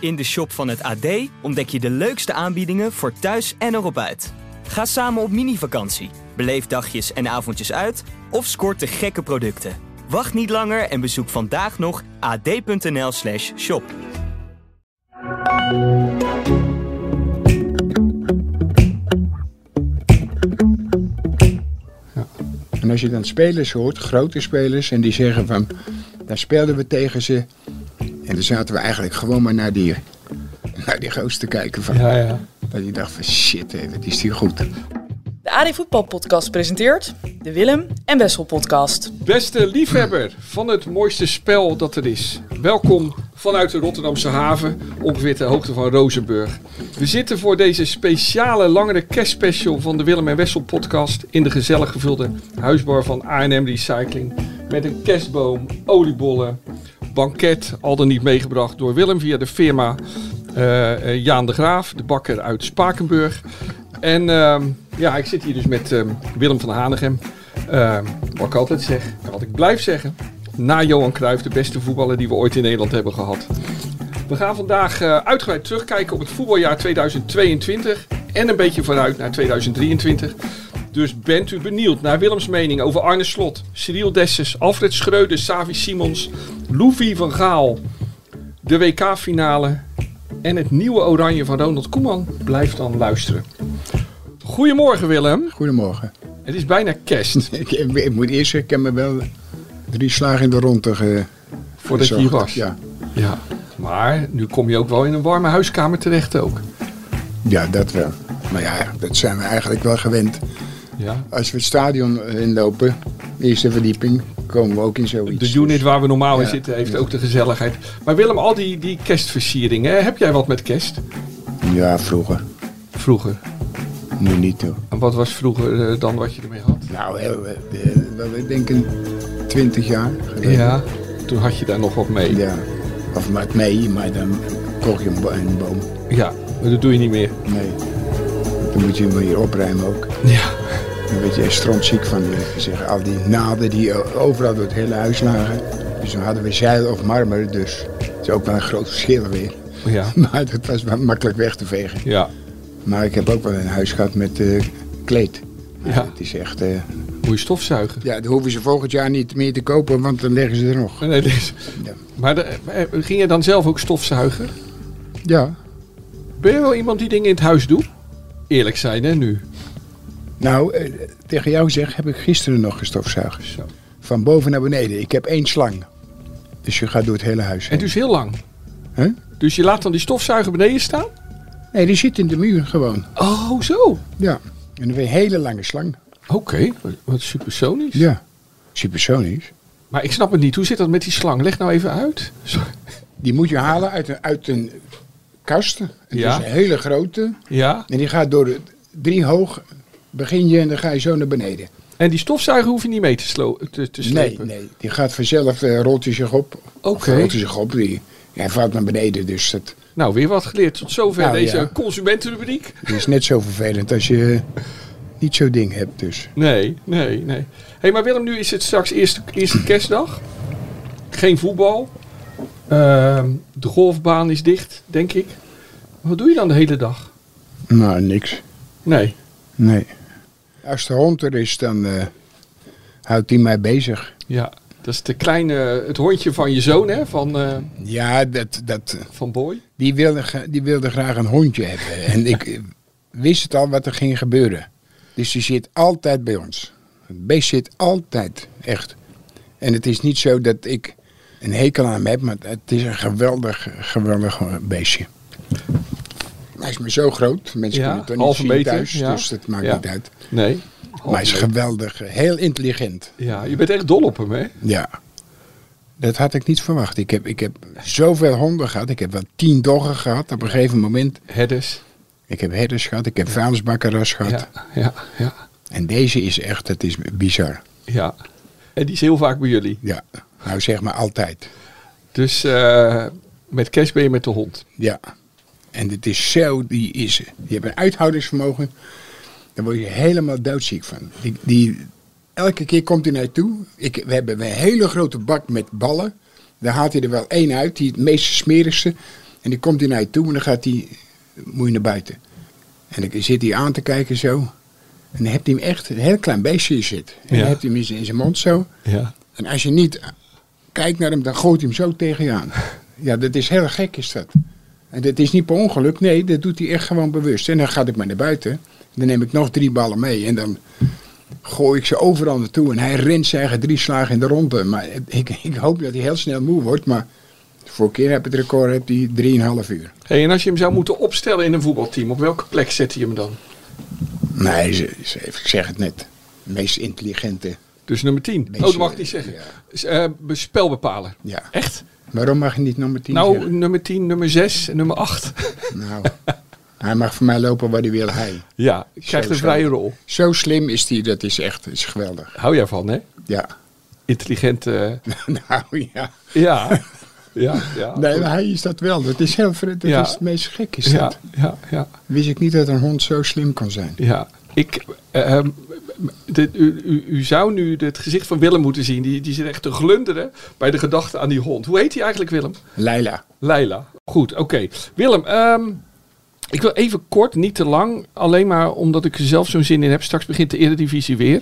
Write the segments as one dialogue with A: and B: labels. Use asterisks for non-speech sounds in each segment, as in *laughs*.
A: In de shop van het AD ontdek je de leukste aanbiedingen voor thuis en erop uit. Ga samen op mini-vakantie, beleef dagjes en avondjes uit of scoort de gekke producten. Wacht niet langer en bezoek vandaag nog ad.nl/slash shop.
B: En als je dan spelers hoort, grote spelers, en die zeggen van... Daar speelden we tegen ze. En dan zaten we eigenlijk gewoon maar naar die, naar die goos te kijken. Van,
C: Ja, ja.
B: Dat je dacht van shit, hé, wat is die goed.
D: De AD Voetbal Podcast presenteert de Willem en Wessel Podcast.
C: Beste liefhebber van het mooiste spel dat er is. Welkom vanuit de Rotterdamse haven, ongeveer ter hoogte van Rozenburg. We zitten voor deze speciale langere kerstspecial van de Willem en Wessel podcast in de gezellig gevulde huisbar van A&M Recycling. Met een kerstboom, oliebollen, banket, al dan niet meegebracht door Willem via de firma eh, eh, Jaan de Graaf, de bakker uit Spakenburg. En ehm, ja, ik zit hier dus met ehm, Willem van Hanegem. Ehm, wat ik altijd zeg, en wat ik blijf zeggen. Na Johan Cruijff, de beste voetballer die we ooit in Nederland hebben gehad. We gaan vandaag eh, uitgebreid terugkijken op het voetbaljaar 2022 en een beetje vooruit naar 2023. Dus bent u benieuwd naar Willems mening over Arne Slot, Cyril Dessers, Alfred Schreuder, Savi Simons, Louis van Gaal, de WK-finale en het nieuwe oranje van Ronald Koeman? Blijf dan luisteren. Goedemorgen Willem,
B: Goedemorgen.
C: het is bijna kerst
B: Ik, ik moet eerst zeggen, ik heb me wel drie slagen in de ronde ge,
C: voordat je hier
B: gezorgd.
C: was.
B: Ja.
C: Ja, maar nu kom je ook wel in een warme huiskamer terecht ook.
B: ja, dat wel. Maar ja, dat zijn we eigenlijk wel gewend.
C: Ja.
B: Als we het stadion inlopen, eerste verdieping, komen we ook in zoiets.
C: De unit waar we normaal in
B: Ja,
C: zitten heeft
B: ja.
C: ook de gezelligheid. Maar Willem, al die, die kerstversieringen, hè, heb jij wat met kerst?
B: Ja, vroeger.
C: Vroeger.
B: Nu niet toe.
C: En wat was vroeger eh, dan wat je ermee had?
B: Nou, heel, eh, eh, ik denk een twintig jaar geleden.
C: Ja, toen had je daar nog wat mee. Ja,
B: Ja. Of maakt mee, maar dan kocht je een, bo- een boom.
C: maar dat doe je niet meer.
B: Nee. Dan moet je hem weer opruimen ook.
C: Ja.
B: Dan weet je er strontziek van. eh, Zeg, al die naden die o- overal door het hele huis lagen. Dus dan hadden we zeil of marmer, dus het is ook wel een groot verschil weer.
C: Ja.
B: *laughs* Maar dat was wel makkelijk weg te vegen.
C: Ja.
B: Maar ik heb ook wel een huis gehad met eh, kleed.
C: Ja.
B: Het is echt... eh,
C: Moet je stofzuigen.
B: ja, dan hoeven ze volgend jaar niet meer te kopen, want dan leggen ze er nog.
C: Nee, dit is-
B: Ja.
C: Maar de- eh, ging je dan zelf ook stofzuigen?
B: Ja.
C: Ben je wel iemand die dingen in het huis doet? Eerlijk zijn, hè, nu.
B: Nou, eh, tegen jou zeg, heb ik gisteren nog gestofzuigers.
C: Zo.
B: Van boven naar beneden. Ik heb één slang. Dus je gaat door het hele huis
C: En
B: heen.
C: dus heel lang.
B: Hè?
C: Dus je laat dan die stofzuiger beneden staan?
B: Nee, die zit in de muur gewoon.
C: Oh, zo.
B: Ja. En dan weer een hele lange slang.
C: Oké, wat- wat supersonisch.
B: Ja. Supersonisch.
C: Maar ik snap het niet. Hoe zit dat met die slang? Leg nou even uit. Zo-
B: Die moet je halen uit een, uit een kast. Het
C: Ja.
B: is een hele grote.
C: Ja.
B: En die gaat door de- drie hoog. Begin je en dan ga je zo naar beneden.
C: En die stofzuiger hoef je niet mee te, slo- te, te
B: Nee,
C: slepen?
B: nee. Die gaat vanzelf, eh rolt hij zich op. Of
C: Oké.
B: Rolt hij zich op. Die, hij valt naar beneden, dus dat
C: Nou, weer wat geleerd. Tot zover
B: Nou,
C: deze
B: ja.
C: consumentenrubriek.
B: dat is net zo vervelend als je eh, niet zo'n ding hebt. Dus.
C: Nee, nee, nee. Hé, hey, maar Willem, nu is het straks eerste, eerste kerstdag. Geen voetbal. Ehm, de golfbaan is dicht, denk ik. Wat doe je dan de hele dag?
B: Nou, niks.
C: Nee.
B: Nee. Als de hond er is, dan eh, houdt hij mij bezig.
C: Ja, dat is de kleine, het hondje van je zoon, hè? Van, eh,
B: Ja, dat, dat,
C: van Boy.
B: die, wilde, gra- die wilde graag een hondje hebben. En ik *laughs* eh, wist het al wat er ging gebeuren. Dus die zit altijd bij ons. Het beest zit altijd, echt. En het is niet zo dat ik een hekel aan hem heb, maar het is een geweldig, geweldig eh, beestje. Hij is maar zo groot. Mensen
C: Ja,
B: kunnen het toch niet
C: halve
B: zien
C: meter,
B: thuis,
C: ja.
B: dus dat maakt
C: Ja.
B: niet uit.
C: Nee.
B: Maar hij is geweldig, eh, heel intelligent.
C: Oh, Ja, je bent echt dol op hem, hè?
B: Ja. Dat had ik niet verwacht. Ik heb, ik heb zoveel honden gehad. Ik heb wel tien doggen gehad op een gegeven moment.
C: Herders.
B: Ik heb herders gehad. Ik heb vuilnisbakkeras gehad.
C: Ja, ja, ja,
B: En deze is echt, het is bizar.
C: ja. En die is heel vaak bij jullie.
B: Ja. Nou zeg maar altijd.
C: Dus eh, met kerst ben je met de hond.
B: Ja. En het is zo, die is, je hebt een uithoudingsvermogen. Daar word je helemaal doodziek van. Die, die, elke keer komt hij naartoe. Ik, we hebben een hele grote bak met ballen. Daar haalt hij er wel één uit, die het meest smerigste. En die komt hij naar je toe en dan gaat hij, moet je naar buiten. En dan zit hij aan te kijken zo. En dan heb je hem echt, een heel klein beestje is het. En
C: Ja.
B: dan heb je hem in zijn- in zijn mond zo.
C: Ja.
B: En als je niet kijkt naar hem, dan gooit hij hem zo tegen je aan. Ja, dat is heel gek is dat. En dat is niet per ongeluk, nee, dat doet hij echt gewoon bewust. En dan ga ik maar naar buiten. Dan neem ik nog drie ballen mee en dan gooi ik ze overal naartoe. En hij rent zijn eigen drie slagen in de ronde. Maar ik, ik hoop dat hij heel snel moe wordt, maar... de Vorige keer heb ik het record, heb hij 3,5 uur.
C: Hey, en als je hem zou moeten opstellen in een voetbalteam, op welke plek zet je hem dan?
B: Nee, ze, ze- ik zeg het net. De meest intelligente.
C: Dus nummer 10.
B: Meest-
C: Oh, dat mag ik niet zeggen.
B: Ja.
C: Is, eh, be- spelbepaler.
B: Ja.
C: Echt?
B: Waarom mag je niet nummer 10
C: nou, *laughs*
B: zeggen?
C: nummer 10, nummer 6 en
B: *laughs*
C: nummer 8.
B: Nou, hij mag voor mij lopen waar hij wil, hij.
C: ja, je krijgt
B: Zo,
C: een
B: zo.
C: vrije rol.
B: Zo slim is die, dat is echt is geweldig.
C: Hou jij van, hè?
B: Ja. *laughs*
C: Intelligent. eh,
B: nou ja. *laughs*
C: ja. ja, ja.
B: Nee,
C: Goed.
B: maar hij is dat wel. Dat is, heel, ver- dat
C: Ja.
B: is het meest gek. Is
C: ja,
B: dat.
C: ja, ja,
B: Wist ik niet dat een hond zo slim kan zijn.
C: ja. Ik, eh, ehm, de- u, u, u zou nu het gezicht van Willem moeten zien. Die, die zit echt te glunderen bij de gedachte aan die hond. Hoe heet hij eigenlijk, Willem?
B: Leila.
C: Leila. Goed, oké. Willem, ehm, ik wil even kort, niet te lang. Alleen maar omdat ik er zelf zo'n zin in heb. Straks begint de Eredivisie weer.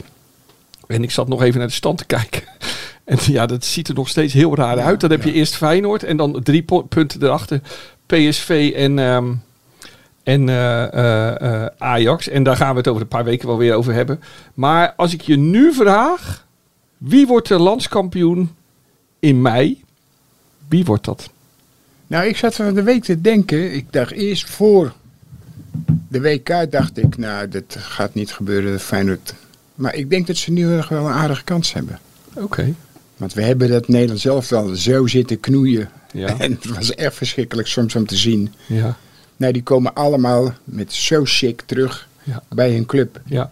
C: En ik zat nog even naar de stand te kijken. *laughs* En ja, dat ziet er nog steeds heel raar uit. Dan heb je eerst Feyenoord en dan drie po- punten erachter. PSV en, ehm, en eh, eh, eh, Ajax. En daar gaan we het over een paar weken wel weer over hebben. Maar als ik je nu vraag, wie wordt de landskampioen in mei? Wie wordt dat?
B: Nou, ik zat van de week te denken. Ik dacht eerst voor de WK dacht ik, nou, dat gaat niet gebeuren, Feyenoord. Maar ik denk dat ze nu nog wel een aardige kans hebben.
C: Oké.
B: Want we hebben dat Nederland zelf wel zo zitten knoeien.
C: Ja.
B: *laughs* En het was echt verschrikkelijk soms om te zien.
C: Ja,
B: Nou, die komen allemaal met zo sick terug
C: Ja.
B: bij hun club.
C: ja.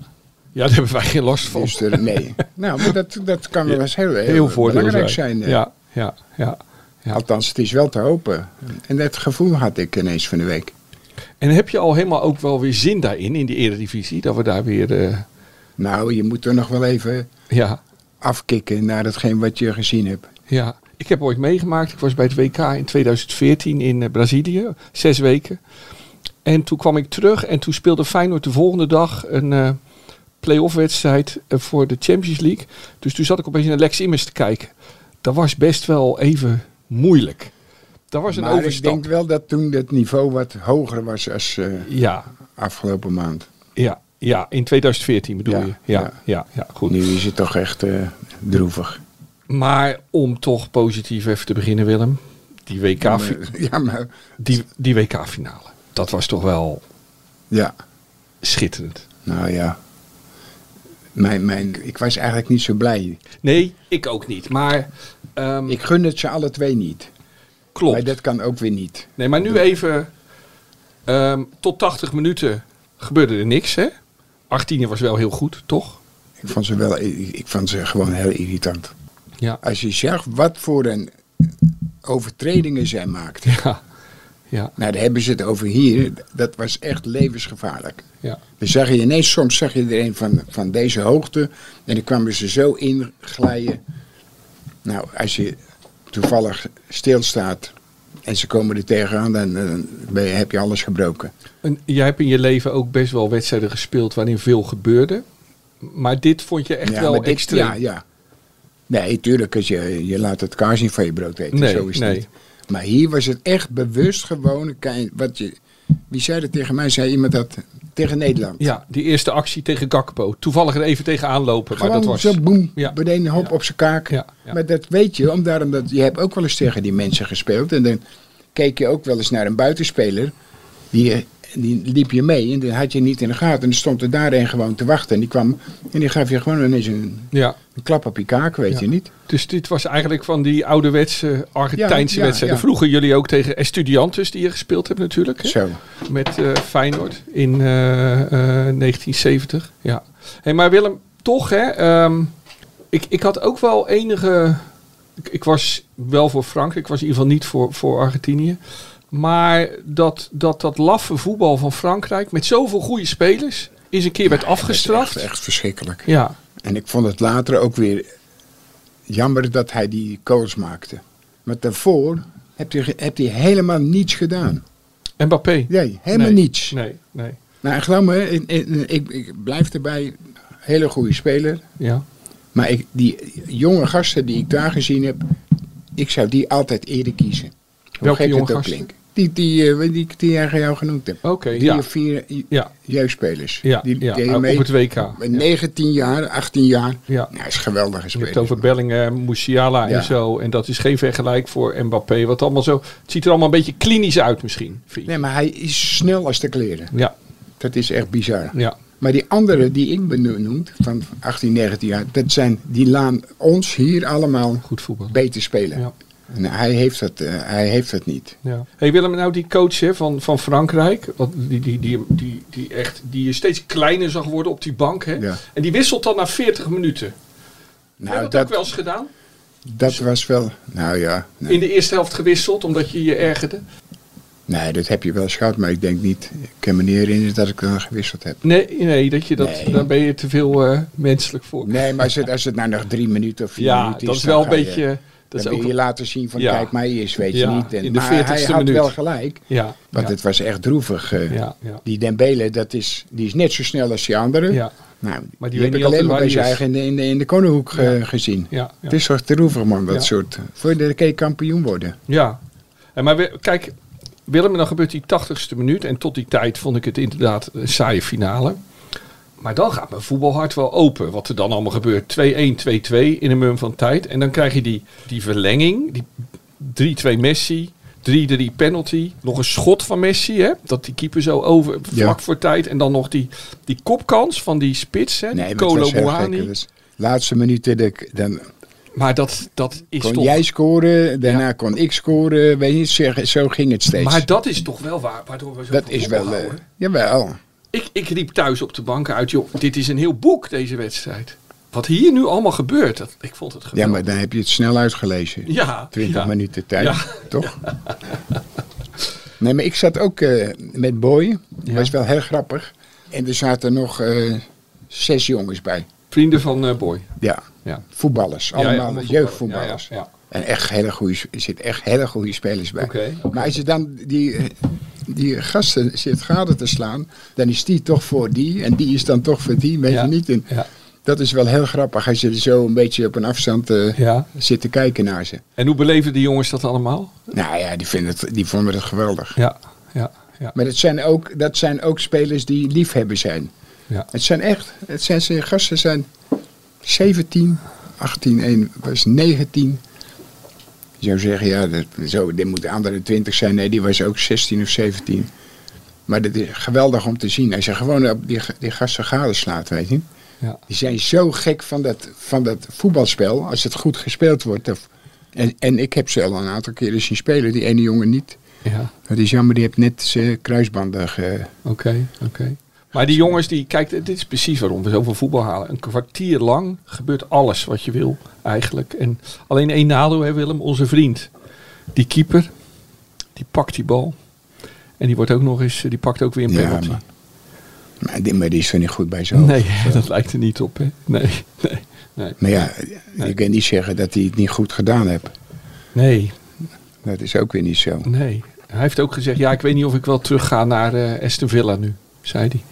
C: Ja, daar hebben wij geen last van.
B: Dus er-
C: *laughs*
B: nee. nou, maar dat, dat kan wel eens heel, heel,
C: Heel voordeel
B: belangrijk zijn. eh.
C: Ja, ja, ja. ja.
B: Althans, het is wel te hopen. En dat gevoel had ik ineens van de week.
C: En heb je al helemaal ook wel weer zin daarin, in die eredivisie? Dat we daar weer... eh,
B: Nou, je moet er nog wel even
C: ja,
B: afkicken naar hetgeen wat je gezien hebt.
C: ja. Ik heb ooit meegemaakt, ik was bij het WK in 2014 in eh, Brazilië. Zes weken. En toen kwam ik terug en toen speelde Feyenoord de volgende dag een eh play-off wedstrijd eh, voor de Champions League. Dus toen zat ik opeens naar Lex Immers te kijken. Dat was best wel even moeilijk. Dat was een
B: maar ik
C: overstap.
B: denk wel dat toen het niveau wat hoger was als eh,
C: Ja,
B: afgelopen maand.
C: Ja, ja, in 2014 bedoel
B: Ja,
C: je. Ja, ja,
B: ja.
C: ja, goed.
B: Nu is het toch echt eh, droevig.
C: Maar om toch positief even te beginnen, Willem. Die WK, fi-
B: Ja, maar
C: die, die WK finale. Dat was toch wel
B: ja.
C: schitterend.
B: Nou ja. Mijn, mijn, ik was eigenlijk niet zo blij.
C: Nee, ik ook niet. Maar ehm,
B: Ik gun het ze alle twee niet.
C: klopt.
B: Maar dat kan ook weer niet.
C: Nee, maar nu even. ehm, tot 80 minuten gebeurde er niks, hè? 18 was wel heel goed, toch?
B: Ik vond ze wel, ik, ik vond ze gewoon heel irritant.
C: Ja.
B: Als je zag wat voor een overtredingen zij maakten.
C: Ja. Ja.
B: Nou, daar hebben ze het over hier. Dat was echt levensgevaarlijk.
C: Ja.
B: Dan zag je ineens, soms zag je er een van, van deze hoogte. En dan kwamen ze zo inglijden. Nou, als je toevallig stilstaat en ze komen er tegenaan, dan, dan ben je- heb je alles gebroken.
C: En jij hebt in je leven ook best wel wedstrijden gespeeld waarin veel gebeurde. Maar dit vond je echt
B: ja,
C: wel
B: maar dit-
C: extreem.
B: Ja, ja. Nee, tuurlijk, als je, je laat het kaas niet van je brood eten.
C: Nee,
B: zo is het
C: nee.
B: niet. Maar hier was het echt bewust gewoon. een kein- Wat je, wie zei dat tegen mij? Zei iemand dat tegen Nederland?
C: Ja, die eerste actie tegen Gakpo. Toevallig er even tegenaan lopen,
B: Gewoon
C: maar dat was...
B: zo boem,
C: Ja.
B: meteen een hop
C: Ja.
B: op zijn kaak.
C: Ja, ja.
B: Maar dat weet je, om daarom dat, je hebt ook wel eens tegen die mensen gespeeld. En dan keek je ook wel eens naar een buitenspeler. Die, die liep je mee en die had je niet in de gaten. En er stond er daar een gewoon te wachten. En die kwam en die gaf je gewoon ineens een,
C: Ja,
B: een klap op je kaak, weet
C: Ja.
B: je niet.
C: dus dit was eigenlijk van die ouderwetse Argentijnse
B: Ja, ja, ja.
C: wedstrijden. Vroegen jullie ook tegen Estudiantes die je gespeeld hebt natuurlijk. Hè?
B: Zo.
C: Met eh, Feyenoord in eh, eh, 1970. Ja. Hey, maar Willem, toch hè. ehm, ik, ik had ook wel enige... Ik, ik was wel voor Frankrijk, ik was in ieder geval niet voor, voor Argentinië. Maar dat, dat dat laffe voetbal van Frankrijk met zoveel goede spelers... is een keer werd afgestraft.
B: Echt, echt verschrikkelijk.
C: Ja,
B: En ik vond het later ook weer jammer dat hij die calls maakte. Maar daarvoor Hebt hij, ge- hebt hij helemaal niets gedaan.
C: Mbappé?
B: Nee, helemaal
C: Nee.
B: niets.
C: Nee, nee.
B: Nou, geloof me, ik, ik, ik- ik blijf erbij. Hele goede speler.
C: Ja.
B: Maar ik, die jonge gasten die ik daar gezien heb, ik zou die altijd eerder kiezen. Hoe
C: Welke
B: gek
C: jonge
B: het ook
C: gasten?
B: klinkt. Die, die, eh, die, ik- die jij jou genoemd hebt.
C: Oké,
B: Drie
C: ja.
B: of vier je-
C: Ja.
B: jeugdspelers.
C: Ja,
B: die,
C: ja,
B: deden
C: op
B: mee.
C: het WK.
B: Met 19 jaar, 18 jaar.
C: Ja.
B: Nou, is een geweldige
C: Je hebt
B: speler.
C: het over Bellingham, Musiala en
B: Ja.
C: zo. En dat is geen vergelijk voor Mbappé. Wat allemaal zo, het ziet er allemaal een beetje klinisch uit misschien. vind je.
B: Nee, maar hij is snel als de kleren.
C: Ja,
B: Dat is echt bizar.
C: ja,
B: Maar die anderen die ik benoemd, van 18, 19 jaar, dat zijn, die laan ons hier allemaal
C: goed voetbal.
B: beter spelen.
C: Ja.
B: En hij heeft dat, eh, hij heeft dat niet.
C: Ja. Hey Willem, nou die coach hè, van, van Frankrijk, wat, die, die, die, die, die, echt, die je steeds kleiner zag worden op die bank. Hè?
B: Ja.
C: En die wisselt dan na 40 minuten. Heb je
B: Nou,
C: dat, ook
B: dat,
C: wel eens gedaan?
B: dat was wel. Nou ja, nee.
C: In de eerste helft gewisseld, omdat je je ergerde?
B: Nee, dat heb je wel eens gehad, maar ik denk niet. Ik kan me niet herinneren dat ik dan gewisseld heb.
C: Nee, nee, dat je dat,
B: Nee.
C: daar ben je te veel eh, menselijk voor.
B: Nee, maar als het, als het nou nog drie minuten of vier
C: ja,
B: minuten is.
C: dat is
B: dan
C: wel een
B: ga je-
C: beetje... dat
B: Dan
C: is
B: wil
C: ook,
B: je laten zien van
C: Ja.
B: kijk mij eens, weet
C: Ja,
B: je niet. En,
C: in de
B: maar hij
C: 40ste
B: had
C: minuut.
B: wel gelijk,
C: ja,
B: want
C: ja,
B: het was echt droevig. eh.
C: ja, ja,
B: Die Dembele, dat is, die is net zo snel als die andere.
C: ja,
B: Nou,
C: weet
B: maar
C: niet
B: die, heb ik
C: altijd
B: alleen maar
C: waar
B: bij
C: die
B: zijn
C: is.
B: eigen in de, in de, in de Koninkhoek
C: Ja.
B: eh, gezien.
C: ja, ja.
B: Het is toch droevig man, dat
C: Ja.
B: soort. eh, Voor de kan je kampioen worden.
C: Ja, en maar we- kijk, Willem, dan gebeurt die 80ste minuut. En tot die tijd vond ik het inderdaad een saaie finale. Maar dan gaat mijn voetbalhart wel open. Wat er dan allemaal gebeurt. 2-1, 2-2 in een mum van tijd. En dan krijg je die, die verlenging. Die 3-2 Messi. 3-3 penalty. Nog een schot van Messi. Hè? Dat die keeper zo over, vlak
B: Ja.
C: voor tijd. En dan nog die, die kopkans van die spits. Hè?
B: Nee,
C: Nee,
B: maar het
C: Kolo
B: was heel gek.
C: Muani.
B: Het was- Laatste minuten, de- dan
C: Maar dat, dat is
B: kon
C: toch...
B: jij scoren, daarna kon ik scoren. Weet je, zeg- zo ging het steeds.
C: Maar dat is toch wel waar, waardoor we zo
B: dat
C: van
B: is wel...
C: ophouden.
B: eh, jawel.
C: Ik, ik riep thuis op de bank uit, joh, dit is een heel boek, deze wedstrijd. Wat hier nu allemaal gebeurt, dat, ik vond het
B: Ja,
C: geweldig.
B: maar dan heb je het snel uitgelezen.
C: Ja,
B: 20
C: ja.
B: minuten tijd,
C: Ja.
B: toch? *laughs* Nee, maar ik zat ook eh, met Boy. Dat
C: Ja.
B: was wel heel grappig. En er zaten nog eh, zes jongens bij.
C: Vrienden van eh, Boy.
B: Ja,
C: Ja.
B: voetballers.
C: Ja, ja,
B: Allemaal
C: voetballer.
B: jeugdvoetballers.
C: Ja, ja,
B: En echt hele goede, er zitten echt hele goede spelers bij.
C: Oké, oké.
B: Maar als je dan die, eh, die gasten zit gade te slaan, dan is die toch voor die en die is dan toch voor die, weet
C: Ja,
B: je niet. En
C: ja.
B: Dat is wel heel grappig als je zo een beetje op een afstand eh,
C: Ja.
B: zit te kijken naar ze.
C: En hoe beleven die jongens dat allemaal?
B: Nou ja, die, vinden het, die vonden het geweldig.
C: Ja, ja, ja.
B: Maar dat zijn, ook, dat zijn ook spelers die liefhebber zijn.
C: Ja.
B: Het zijn echt, het zijn ze, gasten zijn 17, 18, 1 was 19. Je zou zeggen, ja, dat, zo, dit moet de andere 20 zijn. Nee, die was ook 16 of 17. Maar dat is geweldig om te zien. Als je gewoon op die, die gasten gadeslaat, weet je.
C: Ja.
B: Die zijn zo gek van dat, van dat voetbalspel, als het goed gespeeld wordt. Of, en, en ik heb ze al een aantal keren zien spelen, die ene jongen niet.
C: Ja,
B: Dat is jammer, die heeft net zijn kruisbanden ge-
C: oké, oké. Maar die jongens, die, kijk, dit is precies waarom we zoveel voetbal halen. Een kwartier lang gebeurt alles wat je wil, eigenlijk. En alleen één nadeel, hè Willem, onze vriend. Die keeper, die pakt die bal. En die wordt ook nog eens, eh, die pakt ook weer een
B: Ja,
C: penalty.
B: maar- Maar die, maar die is er niet goed bij zo.
C: Nee, *laughs*
B: eh,
C: dat lijkt er niet op. Hè? Nee, nee, nee.
B: Maar ja, je kan niet zeggen dat hij het niet goed gedaan heeft.
C: Nee,
B: Dat is ook weer niet zo.
C: nee. Hij heeft ook gezegd, ja, ik weet niet of ik wel terug ga naar eh Aston Villa nu, zei hij.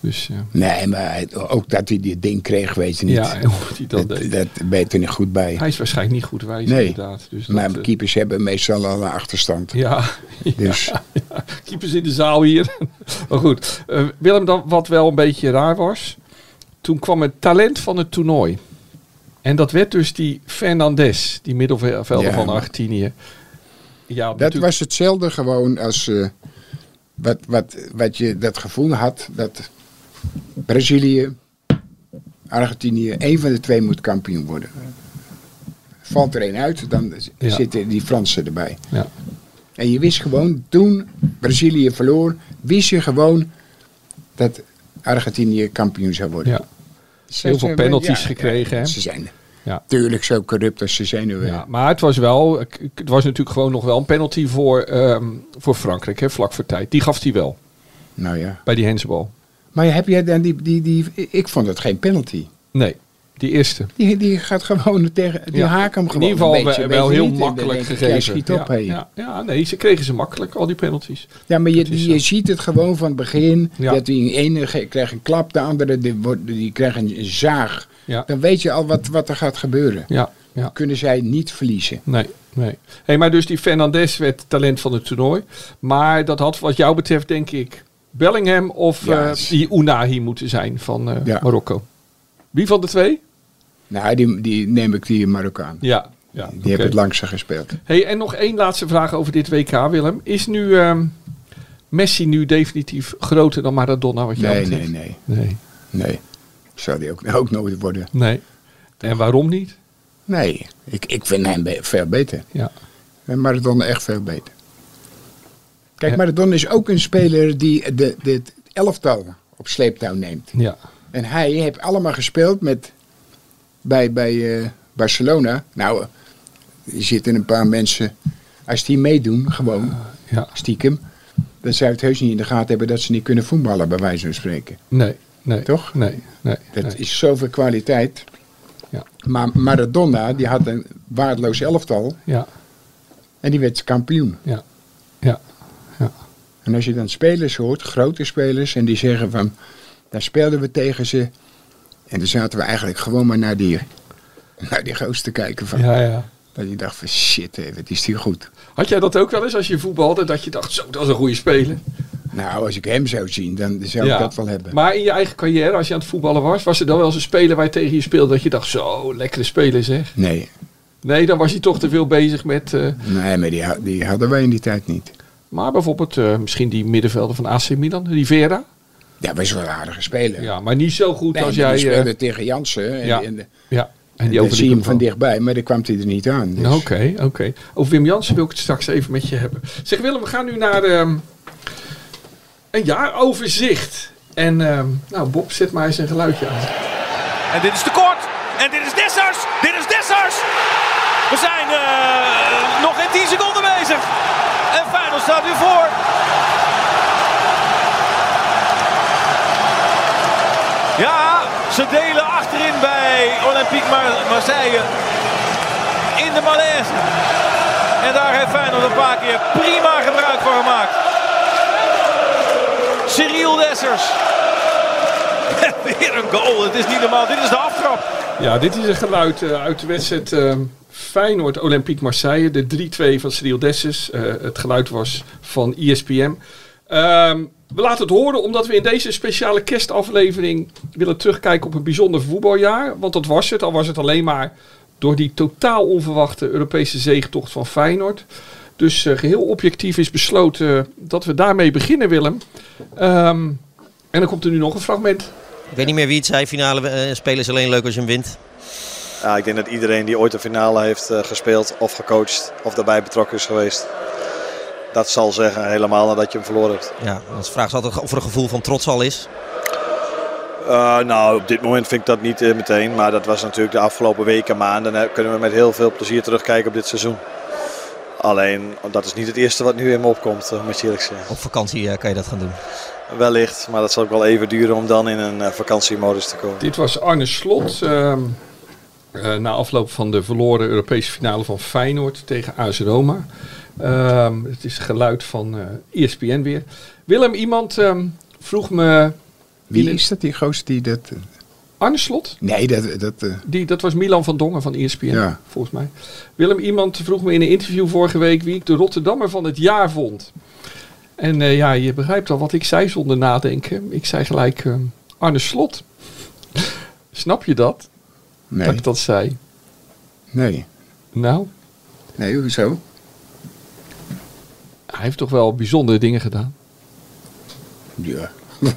C: Dus eh,
B: Nee, maar hij- ook dat hij dit ding kreeg, weet je niet.
C: ja, en hoe hij dat
B: dat,
C: deed.
B: dat ben je er niet goed bij.
C: Hij is waarschijnlijk niet goed wijs,
B: Nee,
C: inderdaad. Dus dat,
B: maar
C: eh,
B: keepers hebben meestal al een achterstand.
C: *laughs* ja,
B: Dus
C: ja, keepers in de zaal hier. *laughs* maar goed, eh, Willem, dan, wat wel een beetje raar was. Toen kwam het talent van het toernooi. En dat werd dus die Fernandes, die middenvelder
B: Ja,
C: van
B: maar-
C: Argentinië. Ja,
B: dat
C: natuurlijk-
B: was hetzelfde gewoon als eh, wat, wat, wat je dat gevoel had dat Brazilië, Argentinië, één van de twee moet kampioen worden. Valt er één uit, dan z-
C: Ja.
B: zitten die Fransen erbij.
C: Ja.
B: En je wist gewoon, toen Brazilië verloor, wist je gewoon dat Argentinië kampioen zou worden.
C: Ja.
B: Ze
C: Heel veel
B: zijn-
C: penalties
B: ja,
C: gekregen.
B: ja,
C: hè?
B: Ze zijn
C: Ja.
B: natuurlijk zo corrupt als ze zijn. hoor.
C: Ja, maar het was wel, het was natuurlijk gewoon nog wel een penalty voor, ehm, voor Frankrijk, hè, vlak voor tijd. Die gaf hij wel,
B: Nou ja.
C: bij die hensbal.
B: Maar heb jij dan die, die, die... Ik vond het geen penalty.
C: Nee, Die eerste.
B: Die, die gaat gewoon *laughs* tegen. Die
C: Ja.
B: haken hem
C: In
B: gewoon.
C: ieder geval
B: een
C: wel-
B: beetje,
C: wel
B: weet je
C: heel
B: niet. En dan
C: makkelijk
B: denk ik,
C: gegeven.
B: Ja, schiet op,
C: ja,
B: hé.
C: ja, ja, nee, ze kregen ze makkelijk, al die penalties.
B: Ja, maar
C: Dat
B: je,
C: is
B: je ziet het gewoon van het begin.
C: Ja.
B: Dat die ene ge- krijgt een klap, de andere die, wordt- die krijgt een zaag.
C: Ja,
B: Dan weet je al wat, wat er gaat gebeuren.
C: ja, ja.
B: Kunnen zij niet verliezen.
C: Nee, nee. Hey, maar dus die Fernandes werd talent van het toernooi. Maar dat had wat jou betreft, denk ik, Bellingham of
B: Ja,
C: eh,
B: is-
C: die Unahi moeten zijn van eh,
B: Ja.
C: Marokko. Wie van de twee?
B: Nou, die, die neem ik die Marokkaan.
C: Ja. ja
B: Die
C: oké.
B: hebben het langzaam gespeeld.
C: Hey, en nog één laatste vraag over dit WK, Willem. Is nu ehm, Messi nu definitief groter dan Maradona? Wat jou
B: Nee, nee,
C: betreft?
B: nee.
C: nee.
B: Nee. Zou die ook, ook nooit worden?
C: Nee. En waarom niet?
B: Nee. Ik, ik vind hem be- veel beter.
C: Ja.
B: En Maradona echt veel beter. Kijk,
C: Ja.
B: Maradona is ook een speler die de, de, het elftal op sleeptouw neemt.
C: Ja.
B: En hij heeft allemaal gespeeld met, bij, bij eh, Barcelona. Nou, eh, er zitten een paar mensen. Als die meedoen, gewoon
C: Ja.
B: stiekem. Dan zou het heus niet in de gaten hebben dat ze niet kunnen voetballen, bij wijze van spreken.
C: Nee. Nee.
B: Toch?
C: Nee. Nee.
B: Dat
C: nee.
B: is zoveel kwaliteit.
C: Ja.
B: Maar Maradona, die had een waardeloos elftal.
C: Ja.
B: En die werd kampioen.
C: Ja. Ja. Ja.
B: En als je dan spelers hoort, grote spelers, en die zeggen van, daar speelden we tegen ze. En dan zaten we eigenlijk gewoon maar naar die, naar die goos te kijken. Van,
C: Ja. ja.
B: Dat je dacht van, shit, hé, wat is die goed.
C: Had jij dat ook wel eens als je voetbalde? Dat je dacht, zo, dat is een goede speler.
B: Nou, als ik hem zou zien, dan zou ik dat wel hebben.
C: Maar in je eigen carrière, als je aan het voetballen was, was er dan wel eens een speler waar je tegen je speelde dat je dacht, zo, lekkere speler zeg.
B: nee,
C: Nee, dan was hij toch te veel bezig met, eh,
B: nee, maar die, ha- die hadden wij in die tijd niet.
C: maar bijvoorbeeld eh, misschien die middenvelder van AC Milan, Rivera.
B: Ja, wij zijn wel aardige speler.
C: Ja, maar niet zo goed
B: Nee,
C: als
B: die
C: jij. eh,
B: speelde tegen Jansen. En,
C: ja.
B: en, en,
C: ja, en
B: dan zie je hem van
C: dicht.
B: dichtbij, maar dan kwam hij er niet aan. Dus.
C: Oké, oké. Over Wim Jansen wil ik het straks even met je hebben. Zeg Willem, we gaan nu naar ehm, een jaaroverzicht. En ehm, nou, Bob, zet maar eens een geluidje aan.
E: En dit is te kort. En dit is Dessers. Dit is Dessers. We zijn eh, nog geen 10 seconden bezig. En Feyenoord staat weer voor. Ja, ze delen achterin bij Olympique Mar- Marseille. In de malaise. En daar heeft Feyenoord een paar keer prima gebruik van gemaakt. Cyril Dessers. *laughs* Weer een goal. Het is niet normaal. Dit is de aftrap.
C: Ja, dit is een geluid eh, uit de wedstrijd eh, Feyenoord Olympique Marseille. De 3-2 van Cyril Dessers. Eh, het geluid was van E ESPN. Ehm, we laten het horen omdat we in deze speciale kerstaflevering willen terugkijken op een bijzonder voetbaljaar. Want dat was het. Al was het alleen maar door die totaal onverwachte Europese zeegtocht van Feyenoord. Dus eh, geheel objectief is besloten dat we daarmee beginnen, Willem. Ehm, en dan komt er nu nog een fragment.
F: Ik weet niet meer wie het zei. Finale eh, spelen is alleen leuk als je hem wint.
G: Ja, ik denk dat iedereen die ooit een finale heeft eh, gespeeld of gecoacht of daarbij betrokken is geweest, dat zal zeggen helemaal nadat je hem verloren hebt.
F: Ja, dan vraag is altijd of er een gevoel van trots al is.
G: Eh, nou, op dit moment vind ik dat niet eh, meteen, maar dat was natuurlijk de afgelopen weken, maanden. Dan kunnen we met heel veel plezier terugkijken op dit seizoen. Alleen, dat is niet het eerste wat nu in me opkomt, eh, moet je eerlijk zeggen.
F: Op vakantie eh, kan je dat gaan doen.
G: Wellicht, maar dat zal ook wel even duren om dan in een eh, vakantiemodus te komen.
C: Dit was Arne Slot. ehm, eh, na afloop van de verloren Europese finale van Feyenoord tegen AS Roma. Ehm, het is geluid van eh ESPN weer. Willem, iemand ehm, vroeg me...
B: Wie
C: Milan-
B: is dat, die goos die dat... eh,
C: Arne Slot?
B: Nee, dat... dat eh,
C: Die, dat was Milan van Dongen van E ESPN,
B: Ja.
C: volgens mij. Willem, iemand vroeg me in een interview vorige week... wie ik de Rotterdammer van het jaar vond. En eh, ja, je begrijpt al wat ik zei zonder nadenken. Ik zei gelijk ehm, Arne Slot. *laughs* Snap je dat? Dat
B: nee,
C: ik dat zei.
B: nee.
C: Nou...
B: Nee, hoezo?
C: Hij heeft toch wel bijzondere dingen gedaan.
B: Ja. *laughs*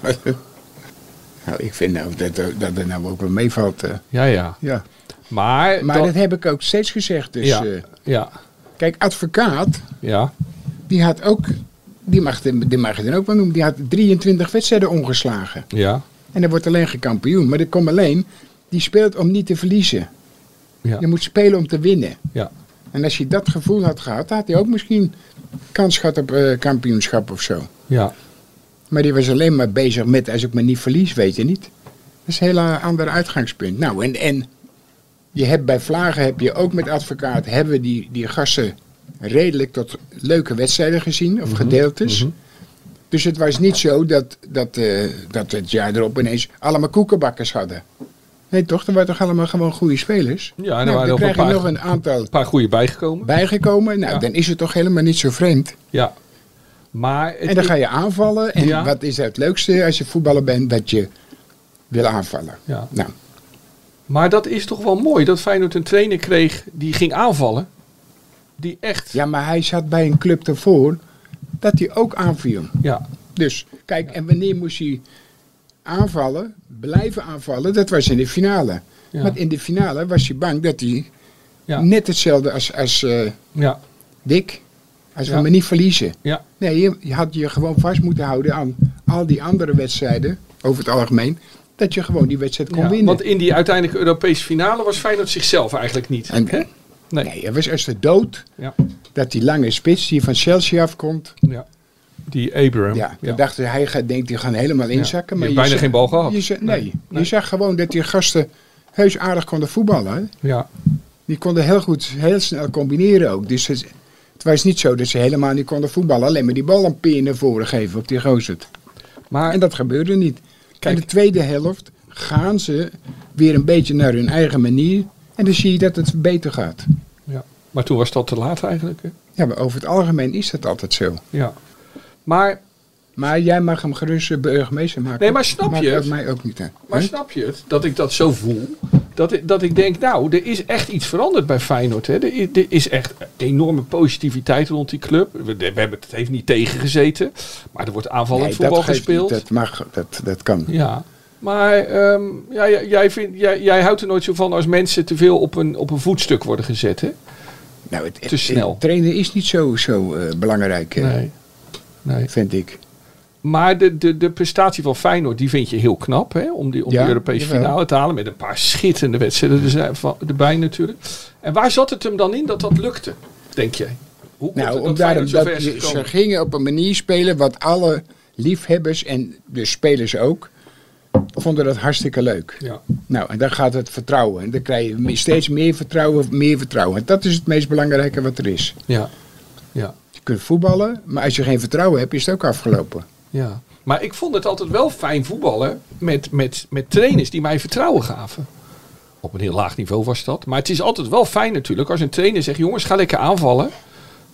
B: nou, ik vind nou dat, dat er nou ook wel meevalt. eh.
C: Ja, ja.
B: ja.
C: Maar,
B: Maar
C: dat-
B: dat heb ik ook steeds gezegd. Dus,
C: ja,
B: eh,
C: ja,
B: kijk, advocaat,
C: ja,
B: die had ook, die mag, die mag je dan ook wel noemen, die had 23 wedstrijden ongeslagen.
C: ja,
B: En er wordt alleen gekampioen. Maar dat komt alleen, die speelt om niet te verliezen.
C: ja,
B: Je moet spelen om te winnen.
C: ja.
B: En als je dat gevoel had gehad, dan had hij ook misschien kans gehad op eh, kampioenschap of zo.
C: ja.
B: Maar die was alleen maar bezig met als ik me niet verlies, weet je niet. Dat is een heel eh, ander uitgangspunt. Nou, en, en Je hebt bij Vlagen heb je ook met advocaat hebben we die, die gasten redelijk tot leuke wedstrijden gezien
C: Mhm,
B: of gedeeltes. Dus het was niet zo dat, dat, eh, dat het jaar erop ineens allemaal koekenbakkers hadden. Nee, toch? Er waren toch allemaal gewoon goede spelers?
C: Ja, en er
B: Nou, dan
C: waren nog een
B: krijg je
C: paar-
B: nog een aantal
C: Een paar goede bijgekomen.
B: bijgekomen. Nou,
C: Ja.
B: dan is het toch helemaal niet zo vreemd.
C: Ja. Maar het-
B: En dan ga je aanvallen. En
C: Ja.
B: wat is het leukste als je voetballer bent? Dat je wil aanvallen.
C: Ja.
B: Nou,
C: Maar dat is toch wel mooi dat Feyenoord een trainer kreeg die ging aanvallen. Die echt. Ja.
B: ja, maar hij zat bij een club ervoor dat hij ook aanviel. Dus kijk, en wanneer moest hij aanvallen, blijven aanvallen? Dat was in de finale.
C: Ja.
B: Want in de finale was hij bang dat hij
C: Ja.
B: net hetzelfde als, als eh,
C: ja.
B: Dick. Als
C: Ja.
B: we me niet verliezen.
C: Ja.
B: Nee, je, je had je gewoon vast moeten houden aan al die andere wedstrijden, over het algemeen, dat je gewoon die wedstrijd kon
C: Ja,
B: winnen.
C: Want in die uiteindelijke Europese finale was Feyenoord zichzelf eigenlijk niet.
B: En-
C: hè? Nee.
B: Nee, het was als de dood
C: Ja.
B: dat die lange spits die van Chelsea afkomt.
C: ja. Die Abraham.
B: Ja, dan dacht hij, hij gaat, denkt, die gaan helemaal inzakken.
C: Je
B: Maar
C: hebt bijna
B: zag-
C: geen bal gehad.
B: Je zag- nee,
C: Nee,
B: je zag gewoon dat die gasten heus aardig konden voetballen. hè.
C: ja.
B: Die konden heel goed, heel snel combineren ook. Dus het, het was niet zo dat ze helemaal niet konden voetballen. Alleen maar die bal een peer naar voren geven op die gozer.
C: Maar
B: En dat gebeurde niet.
C: Kijk.
B: En de tweede helft gaan ze weer een beetje naar hun eigen manier. En dan zie je dat het beter gaat.
C: Ja, maar toen was dat te laat eigenlijk. Hè?
B: Ja, maar over het algemeen is dat altijd zo.
C: Ja. Maar,
B: Maar jij mag hem gerust eh, burgemeester maken.
C: Nee, maar snap
B: Maakt
C: je?
B: dat mij ook niet uit.
C: maar
B: Hè?
C: snap je het? Dat ik dat zo voel. Dat ik, dat ik denk, nou, er is echt iets veranderd bij Feyenoord. Hè? Er, i- er is echt enorme positiviteit rond die club. We, we hebben het heeft niet tegengezeten. Maar er wordt aanvallend
B: Nee,
C: voetbal
B: geeft
C: gespeeld.
B: niet. Dat mag, dat, dat kan.
C: Ja. Maar ehm, ja, jij, jij, vindt, jij, jij houdt er nooit zo van als mensen te veel op een, op een voetstuk worden gezet. Hè?
B: Nou, het, het-
C: Te snel.
B: het trainen is niet zo, zo eh, belangrijk, eh,
C: Nee. nee.
B: vind ik.
C: Maar de, de, de prestatie van Feyenoord, die vind je heel knap. Hè? Om die, om
B: Ja,
C: die Europese
B: jawel.
C: finale te halen. Met een paar schitterende wedstrijden er zijn van- erbij natuurlijk. En waar zat het hem dan in dat dat lukte, denk jij? Hoe komt
B: Nou,
C: het
B: om
C: dat
B: daarom
C: Feyenoord
B: dat
C: zover is
B: je- ze
C: gekomen?
B: gingen op een manier spelen wat alle liefhebbers en de spelers ook vonden dat hartstikke leuk.
C: Ja,
B: Nou, en dan gaat het vertrouwen. En dan krijg je me- steeds meer vertrouwen, meer vertrouwen. En dat is het meest belangrijke wat er is.
C: ja, ja,
B: Je kunt voetballen, maar als je geen vertrouwen hebt, is het ook afgelopen.
C: ja. Maar ik vond het altijd wel fijn voetballen met, met, met trainers die mij vertrouwen gaven. Op een heel laag niveau was dat. Maar het is altijd wel fijn natuurlijk als een trainer zegt... jongens, ga lekker aanvallen.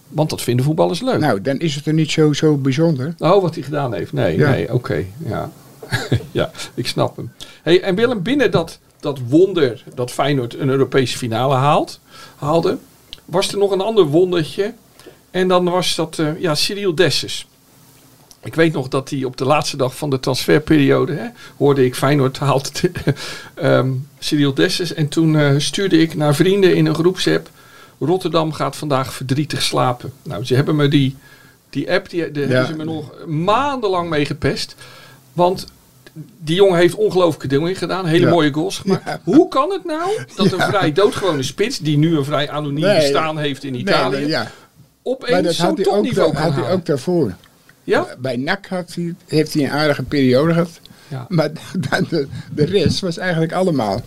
C: Want dat vinden voetballers leuk.
B: Nou, dan is het er niet zo, zo bijzonder.
C: Oh, wat hij gedaan heeft. Nee,
B: Ja.
C: nee, oké. Ja. *laughs* ja, ik snap hem. Hey, en Willem, binnen dat, dat wonder dat Feyenoord een Europese finale haalt, haalde, was er nog een ander wondertje. En dan was dat eh, ja, Cyril Dessus. Ik weet nog dat hij op de laatste dag van de transferperiode, hè, hoorde ik Feyenoord haalt *laughs* ehm Cyril Dessus. En toen eh, stuurde ik naar vrienden in een groepsapp, Rotterdam gaat vandaag verdrietig slapen. Nou, ze hebben me die, die app, die, daar hebben ze me nog maandenlang mee gepest. Want die jongen heeft ongelooflijke dingen gedaan. Hele
B: Ja.
C: mooie goals gemaakt.
B: Ja.
C: Hoe kan het nou dat een vrij doodgewone spits... die nu een vrij anoniem
B: Nee.
C: bestaan heeft in Italië...
B: Nee, ja. Maar
C: opeens
B: dat
C: zo'n
B: had hij ook, wel-
C: topniveau kan
B: had hij
C: halen?
B: ook daarvoor.
C: Ja?
B: Bij NAC had hij, heeft hij een aardige periode gehad.
C: Ja.
B: Maar *laughs* dan de, de rest was eigenlijk allemaal.